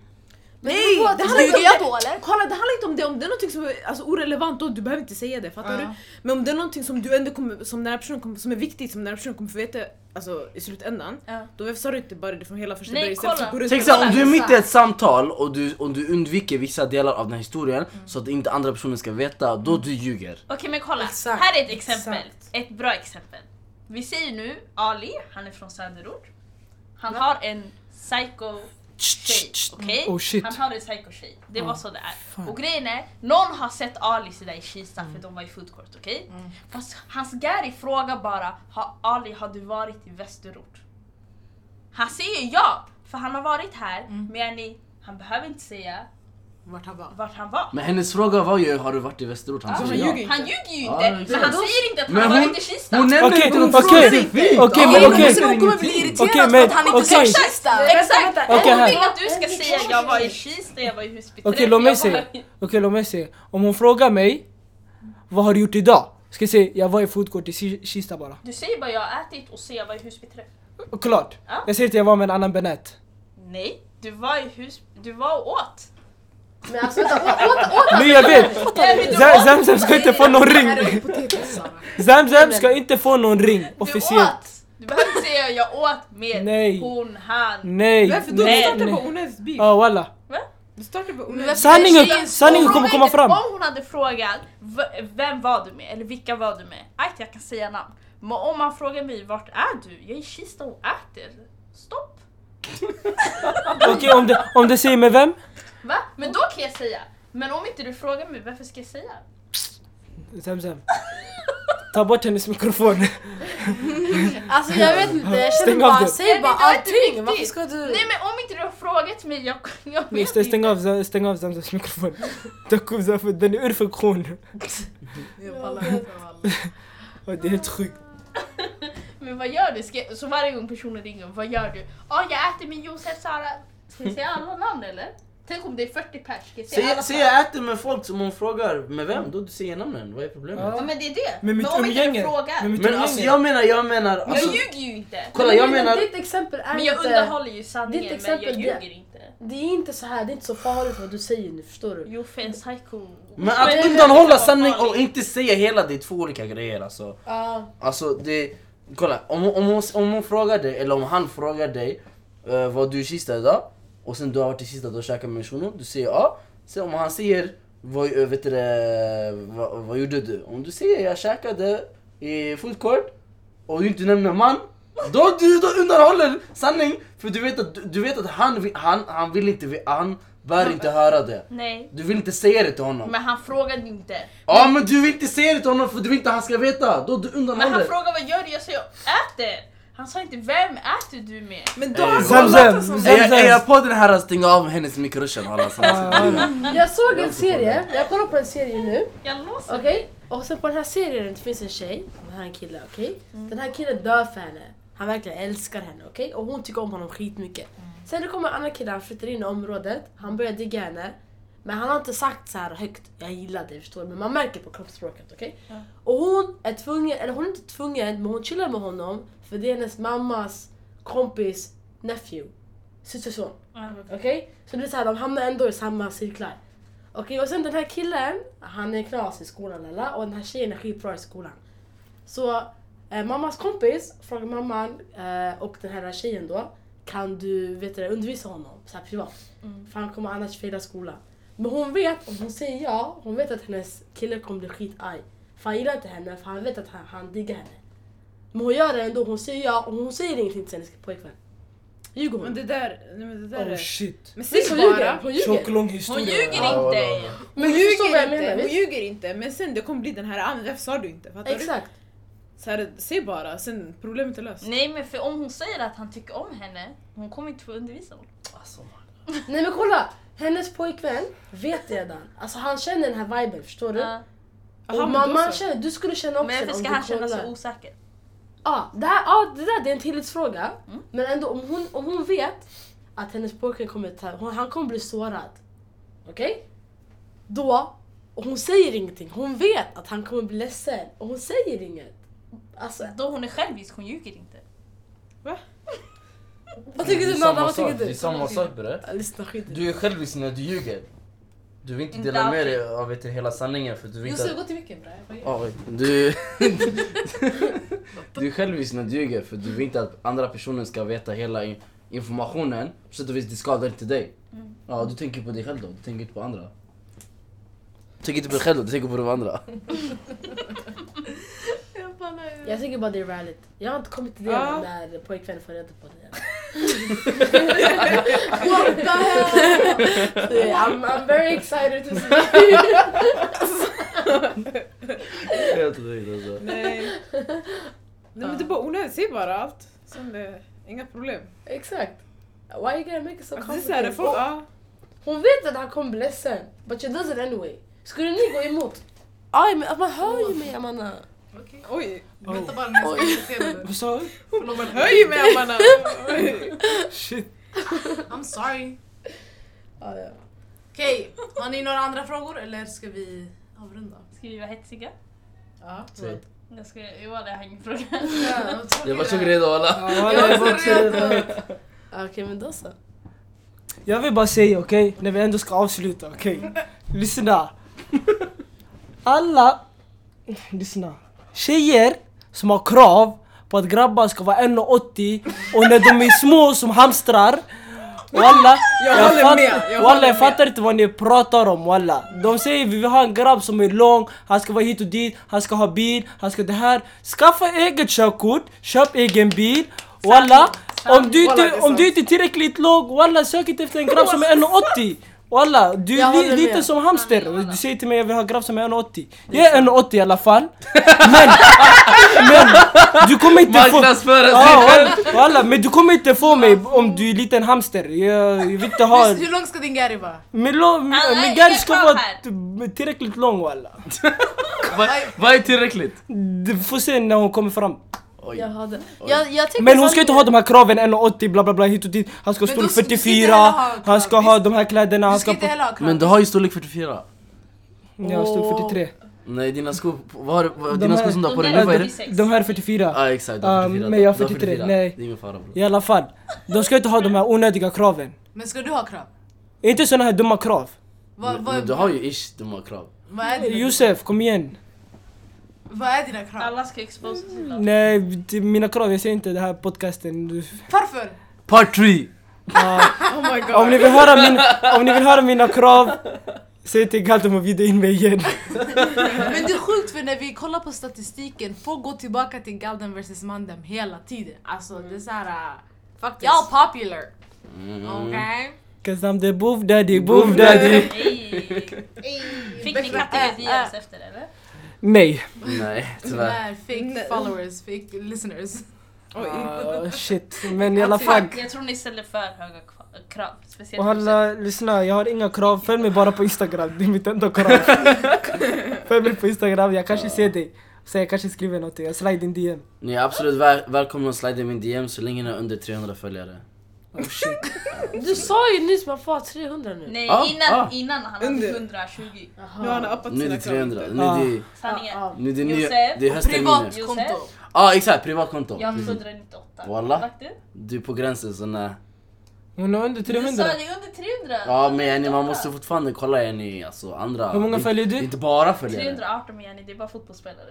Nej! Det handlar inte Ljuger om jag det! då eller? Kolla det handlar inte om det, om det är något som är alltså, orelevant då, du behöver inte säga det, fattar Ja. du? Men om det är något som du ändå kommer, som den här personen kommer, som är viktigt, som den här personen kommer få veta alltså, i slutändan. Ja. Då sa du inte bara det från hela första Nej, början istället för kolla. att gå runt Tänk och- såhär, om du är mitt i ett samtal och du, och du undviker vissa delar av den här historien Mm. så att inte andra personen ska veta, då du ljuger. Okej men kolla, Exakt, här är ett exempel. exakt. Ett bra exempel. Vi säger nu Ali, han är från söderort. Han har en psycho tjej, okej? Oh, shit. han har en psycho tjej. Det var så det är. Och grejen är, någon har sett Ali sådär i Kista för de var i food court, okej? Fast hans Gary frågar bara, har Ali har du varit i västerort? Han säger ja, för han har varit här, men yani, han behöver inte säga Vart han var? vart han var. Men hennes fråga var ju, har du varit i Västerort? Så Han han sa ja. ljuger inte. Han ljuger ju Ja, inte, exakt. men han säger inte att Men han har hon- varit i Kista. Hon nämner Okej, inte, hon okej, frågar sig fritt! okej, Ja, men hon okej. nämner Hon kommer bli ingenting. irriterad Okej, för men- att han inte okej. sa Kista! Exakt! Okej, hon här. vill att du ska säga jag var i Kista, jag var i Husby Okej, låt mig jag var se. i- Okej, låt mig se. Om hon frågar mig, vad har du gjort idag? Ska jag säga, jag var i food court i Ki- Kista bara. Du säger bara jag har ätit och så jag var i Husbyträff. Och klart! Ja. Jag säger att jag var med en annan Benett. Nej, du var i hus... Du var och åt. Men alltså vänta, åt, åt, åt, Nej jag [LAUGHS] vet! Zam- Zamzam ska inte få någon ring! Zamzam ska inte få någon ring Du officiellt. åt! Du behöver inte säga jag åt med Nej. Mm. hon, han. Nej! Varför då? Du Nej, startar nej. bara onödigt beef. Ja walla. Du startar bara Men onödigt varför- Sanningen, tjejen- sanningen kommer komma fram! Om hon hade frågat v- vem var du med eller vilka var du med? Ajt, jag kan säga namn. Men om han frågar mig vart är du? Jag är i Kista och äter. Stopp! Okej om, det, om det säger med vem? Va? Men då kan jag säga. Men om inte du frågar mig, varför ska jag säga? Zamzam. Ta bort hennes mikrofon. Alltså jag vet inte, jag Stäng känner av bara, det. säg bara det var inte allting! riktigt. Varför ska du... Nej men om inte du har frågat mig, jag, jag vet Nej, stäng, stäng av, Zam- stäng av Zamzams mikrofon. Tack och lov, för den är ur funktion. Jag pallar inte, wallah. Ja, Det är helt sjukt. Men vad gör du? Ska, så varje gång personen ringer, vad gör du? Ja, jag äter min juice här Sara. Ska jag säga alla namn eller? Tänk om det är 40 pers, ska jag säga alla Säg, säg namn? jag äter med folk som hon frågar med vem? Då du säger namnen, vad är problemet? Ja. Ja men det är det. Men mitt om inte umgänge- du frågar. Men mitt Men alltså jag menar, jag menar... jag Alltså, ljuger ju inte. kolla jag menar... Ditt exempel är Men jag inte... underhåller ju ditt sanningen men exempel, jag det- ljuger inte. Det är inte så här, det är inte så farligt vad du säger nu, förstår du? Jo för en psycho. Men att undanhålla sanning och inte säga hela, det är två olika grejer alltså. Alltså det, kolla om, om, hon, om hon frågar dig, eller om han frågar dig eh, Var du i Kista idag? Och sen du har varit i Kista och käkat med shunon, du säger ja Sen om han säger vad, eh, vet du, det, vad, vad gjorde du? Om du säger jag käkade i food court och du inte nämner man då, du, då undanhåller sanning för du vet att, du, du vet att han, vill- han, han vill inte, han bör inte höra det Nej. Du vill inte säga det till honom Men han frågade ju inte. Ja men du vill inte säga det till honom för du vill inte att han ska veta, då du Men han undanhåller frågade vad gör du? Jag sa jag äter. Han sa inte vem äter du med? Men då har han Zam, kollat zam, alltså. oss som zam. Är jag- är jag på den här att stänga av hennes mikroshen alla Jag såg en serie, jag kollar på en serie nu, Jag låser okej? Och sen på den här serien det finns en tjej, och här är en kille, okej? Den här killen dör för henne. Han verkligen älskar henne, okej? Och hon tycker om honom skitmycket. Sen det kommer en annan kille, han flyttar in i området, han börjar digga henne. Men han har inte sagt så här högt, jag gillar dig förstår du? Men man märker på kroppsspråket, okej? Och hon är tvungen, eller hon är inte tvungen, men hon chillar med honom för det är hennes mammas kompis nephew, systerson. Okej? Så det är så här, de hamnar ändå i samma cirklar. Okej, och sen den här killen, han är knas i skolan alla, och den här tjejen är skitbra i skolan. Så eh, mammas kompis frågar mamman eh, och den här tjejen då, kan du vet du, det, undervisa honom så här privat? Mm. För han kommer annars fejla skolan. Men hon vet, om hon säger ja, hon vet att hennes kille kommer bli skitarg. För han gillar inte henne, för han vet att han, han diggar henne. Men hon gör det ändå, hon säger ja och hon säger ingenting till hennes pojkvän. Ljuger hon? Men det där, nej men det där Oh är... shit. Men Det säg är hon ljuger, bara! hon Tjock ljuger. lång Hon historia. ljuger Ja, ja, ja, inte. Hon du förstår vad jag ljuger menar, inte, hon visst? ljuger inte men sen det kommer bli den här, ah, men varför sa du inte? Fattar du? Exakt. Så här, säg bara, sen problemet är löst. Nej men för om hon säger att han tycker om henne, hon kommer inte få undervisa honom. Nej men kolla! Hennes pojkvän vet redan. Alltså han känner den här viben, förstår du? Ja. Aha, och men då mamman så. känner, du skulle känna också Men varför om ska du han känna kollar. sig osäker? Ja, det, här, ja, det där det är en tillitsfråga. Men ändå om hon, om hon vet att hennes pojkvän kommer ta, hon, han kommer bli sårad. Okej? Då, och hon säger ingenting. Hon vet att han kommer bli ledsen och hon säger inget. Alltså, Då hon är självisk, hon ljuger inte. vad tycker du Nada? Vad tycker du? samma sak bre. Ja, Lyssna skit i det. Du är självisk när du ljuger. Du vill inte Inte dela med alltid. dig av vet, du, hela sanningen för du vill inte... Josef, att- gå till micken bre. Vad gör Ja, vet du. Du... [LAUGHS] du är självisk när du ljuger för du vill inte att andra personen ska veta hela in- informationen. På sätt och vis det skadar inte dig. Mm. Ja, du tänker på dig själv då, du tänker inte på andra. Du tänker inte på dig själv då, du tänker på de andra. Jag tycker bara det är rallyt. Jag har inte kommit till det Ja. än när pojkvännen får reda på det. än. [LAUGHS] I'm, I'm very excited to see [LAUGHS] Helt sjukt alltså. Nej. Nej men det är bara onödigt, säg bara allt. Sen det, inga problem. Exakt. Why you gonna make it so Alltså, det är såhär, complicated? folk, ja. Hon vet att han kommer bli ledsen. But she does it anyway. Skulle ni gå emot? Aj, men man hör ju mig Amanda. du? Okej. Oj, Vänta bara när jag ska se det. Vad sa du? man hör ju med armarna. Oj. Shit. I'm sorry. Ja, ja. Okej, har ni några andra frågor eller ska vi avrunda? Ska vi vara hetsiga? Ja. Säg. Jag ska göra det, jag har ingen fråga. Ja, vad Jag var så tråkigt det redo alla. Ja, walla, jag var också redo. Okej men då så. Jag vill bara säga okej, när vi ändå ska avsluta, okej? Lyssna! Alla... Lyssna. Tjejer som har krav på att grabbar ska vara 1,80 och när de är små som hamstrar Walla, jag, håller fatt- med, jag walla, håller jag fattar inte vad ni pratar om walla De säger vi vill ha en grabb som är lång, han ska vara hit och dit, han ska ha bil, han ska det här Skaffa eget körkort, köp egen bil Walla, om du Walla, det inte, är om sant. du inte är tillräckligt låg, walla sök inte efter en grabb som är 1,80 Walla, du Jag är li, håller lite med. som hamster Du säger till mig jag vill ha en grabb som är 1,80 Jag är 1,80 i alla fall Men, [LAUGHS] men du kommer inte få Marknadsföra Ja, sig! walla, walla, men du kommer inte få mig om du är liten hamster. Jag, jag vill inte ha... Hur lång ska din Gary vara? Min, lång- min, Ah, nej, min gärd jag ska är klar vara här. t- tillräckligt lång walla. Vad- [LAUGHS] Vad är tillräckligt? Du får se när hon kommer fram. Oj. Jag hade... Jag, jag tycker Men hon ska sanningen- inte ha de här kraven 1,80 bla bla bla hit och dit. Han ska ha Men storlek då ska- du ska inte 44, heller ha krav, han ska ha de här kläderna, Du han ska... ska inte På, heller ha krav. Men du har ju storlek 44. jag har storlek 43. Nej dina skor, vad har du- vad- De dina här- skor som du har på dig de nu, vad är där- det? De här är 44. Ja exakt, du Ah, har 44. men jag har Du 43, nej. Det är ingen fara bror. I alla fall. De ska inte ha de här onödiga kraven. Men ska du ha krav? Inte såna här dumma krav. Vad, Men vad, du har ju ish dumma krav. vad, är dina, Josef, kom igen. vad är dina krav? Alla ska exposa sig. Nej, det- mina krav, jag ser inte den här podcasten. Du- Varför? Part 3! Oh Om ni vill höra, min, om ni vill höra mina krav, säg till Galtum att bjuda in mig igen. [LAUGHS] Men det är sjukt för när vi kollar på statistiken, folk går tillbaka till Galden vs Mandem hela tiden. Alltså det är såhär... Uh, Faktiskt. Y'all popular! Mm. Mm. Okej? Cause I'm the boof daddy, boof daddy. Fick ni katten DMs efter eller? Nej. Nej tyvärr. Okay? Fake followers, fake listeners. Ah, shit, men i alla fall. Alltså, Jag tror ni ställer för höga kva- krav. Speciellt Och alla, lyssna, jag har inga krav. Följ mig bara på Instagram, det är mitt enda krav. Följ mig på Instagram, jag kanske ser dig. Så jag kanske skriver någonting, jag slide in DM. Ni är absolut väl, välkomna att slida i min DM så länge ni har under 300 följare. Oh shit. Du sa ju nyss man får ha 300 nu. Nej, Ah, innan, ah. innan han hade Under. 120. Nu har han [LAUGHS] uppat Nu är sina det krav. 300, nu Ah. är det, Sanningen. nu är det, nya, Josef, det är höstterminen. Privat Josef? konto. Ja ah, exakt, privatkonto. Jag har 198. Walla. Lagt ut. Du är på gränsen så nej. Hon har under 300. Du sa det är under 300. Ja men yani, man måste fortfarande kolla yani, alltså andra. Hur många Det- följer du? det är Inte bara följare. 318 men Jenny, det är bara fotbollsspelare.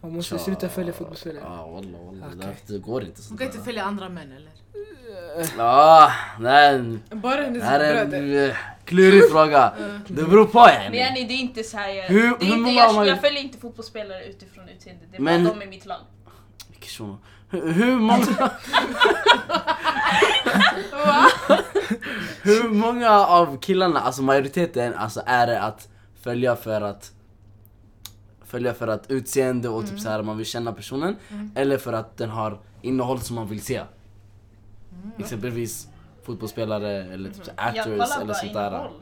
Man måste sluta följa fotbollsspelare. Ja ah, walla walla, det där- det går inte Du sånt kan inte där. följa andra män eller? Ah, nej. Bara hennes Det här är bröder. en eh, klurig fråga. Det beror på Men yani. Jenny, det är inte så här. Jag, Hur- det är hur inte, många har man- jag, jag följer inte fotbollsspelare utifrån utseende. Det är Men- bara de i mitt lag. Vilken shuno. Hur hur många... [LAUGHS] hur många av killarna, alltså majoriteten, alltså är det att följa för att följa för att utseende och Mm. typ så här man vill känna personen eller för att den har innehåll som man vill se? Mm. Exempelvis fotbollsspelare eller typ så här Jag actors kollar eller bara sånt där. innehåll.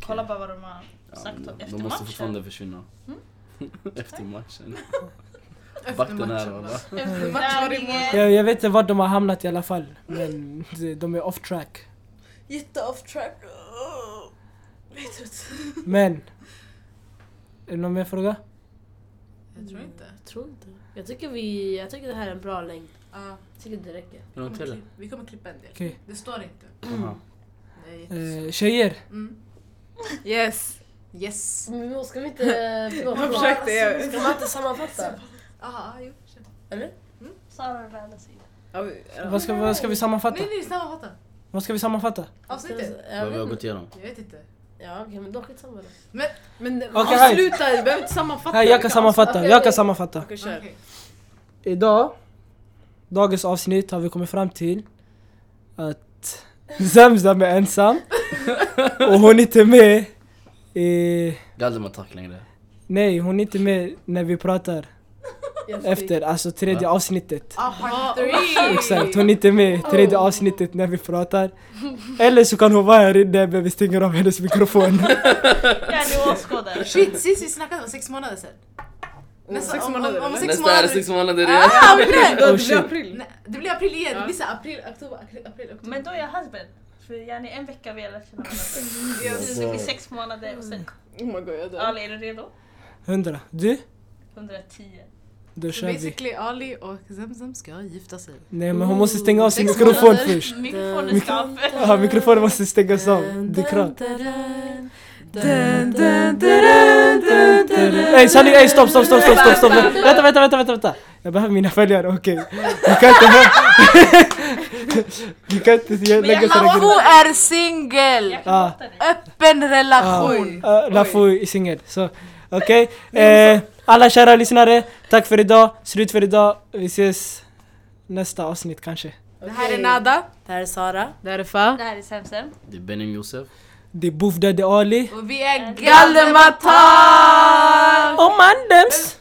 Kolla bara vad de har sagt men efter De måste matchen. Mm. fortfarande försvinna. [LAUGHS] [LAUGHS] Efter matchen. Vakten här matchen, va? [LAUGHS] Efter träningen. Jag, jag vet inte var de har hamnat i alla fall, men de- de är off track. Jätte off track. Åh, Jag är trött. Men... Är det någon mer fråga? Jag tror inte. Jag tror inte. Jag tycker, vi, jag tycker det här är en bra längd. Ja, Jag tycker det räcker. Är det något till? vi kommer klippa en del. Okej. Det står inte. Jaha. Det är jättesvårt. Eh, tjejer, Yes. Yes. Men då ska vi inte... [LAUGHS] Förlåt. Jag försökte. Jag... Ska man inte sammanfatta? Aha, jo. kör. Sara rörde sig. Ja, vi- vad ska, vad ska vi sammanfatta? Nej, nej, sammanfatta. Vad ska vi sammanfatta? Avsnittet. Jag Vad vi har vet inte. gått igenom? Jag vet inte. Ja okej men då skitsamma då. Men Okej, hej. avsluta, du behöver inte sammanfatta. Nej, jag Vi kan sammanfatta, avsluta. jag kan sammanfatta. Okej, kör. Okej. Idag, dagens avsnitt har vi kommit fram till att Zamzam är ensam och hon är inte med i... Galdem attack längre. Nej, hon är inte med när vi pratar efter, alltså tredje avsnittet. Ah, Oh. part three! Exakt, hon är inte med i tredje avsnittet när vi pratar. Eller så kan hon vara här inne men vi stänger av hennes mikrofon. [LAUGHS] Jenny åskådare. Shit, sist vi snackade var sex månader sedan. Nästa, sex om- om- månader, om, eller? sex Nästa är månader. det sex månader igen. Ah, April! Oh, Då, det blir shit. april. Nej, det blir april igen. Ja. Det blir så här april, oktober, april, april, oktober. Men då är jag husband. För Jenny, en vecka [LAUGHS] har vi har lärt känna varandra. Alltså, I sex månader och sen... Oh my god, jag dör. Ali, är du redo? 100. Du? 110. Då kör vi. Basically Ali och Zemzem ska gifta sig. Nej men hon måste stänga av sin Sex mikrofon månader. först. Mikrofonen ska av. Ja, mikrofonen måste stängas av. Det är klart. Ey sanning, ey stopp, stopp, stopp, stopp, stopp, stopp. Vänta, vänta, vänta, vänta, vänta. Jag behöver mina följare, okej. Du kan inte... [LAUGHS] du kan inte se- lägga såna Lafou grejer. är singel! Jag Ah. kan hata dig. Öppen relation! Uh, Lafou i singel, så okej. Eh, alla kära lyssnare, tack för idag. Slut för idag. Vi ses nästa avsnitt kanske. Det här är Nada. Det här är Sara. Det här är Fa. Det här är Semsem. Det är Benim Youssef. Det är Bouf Daddy Ali. Och vi är Galdematar! Oh man dems!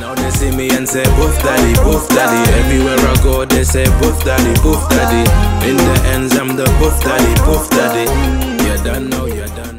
Now they see me and say poof daddy, poof daddy. Everywhere I go, they say poof daddy, poof daddy. In the ends, I'm the poof daddy, poof daddy. You're done now, you're done.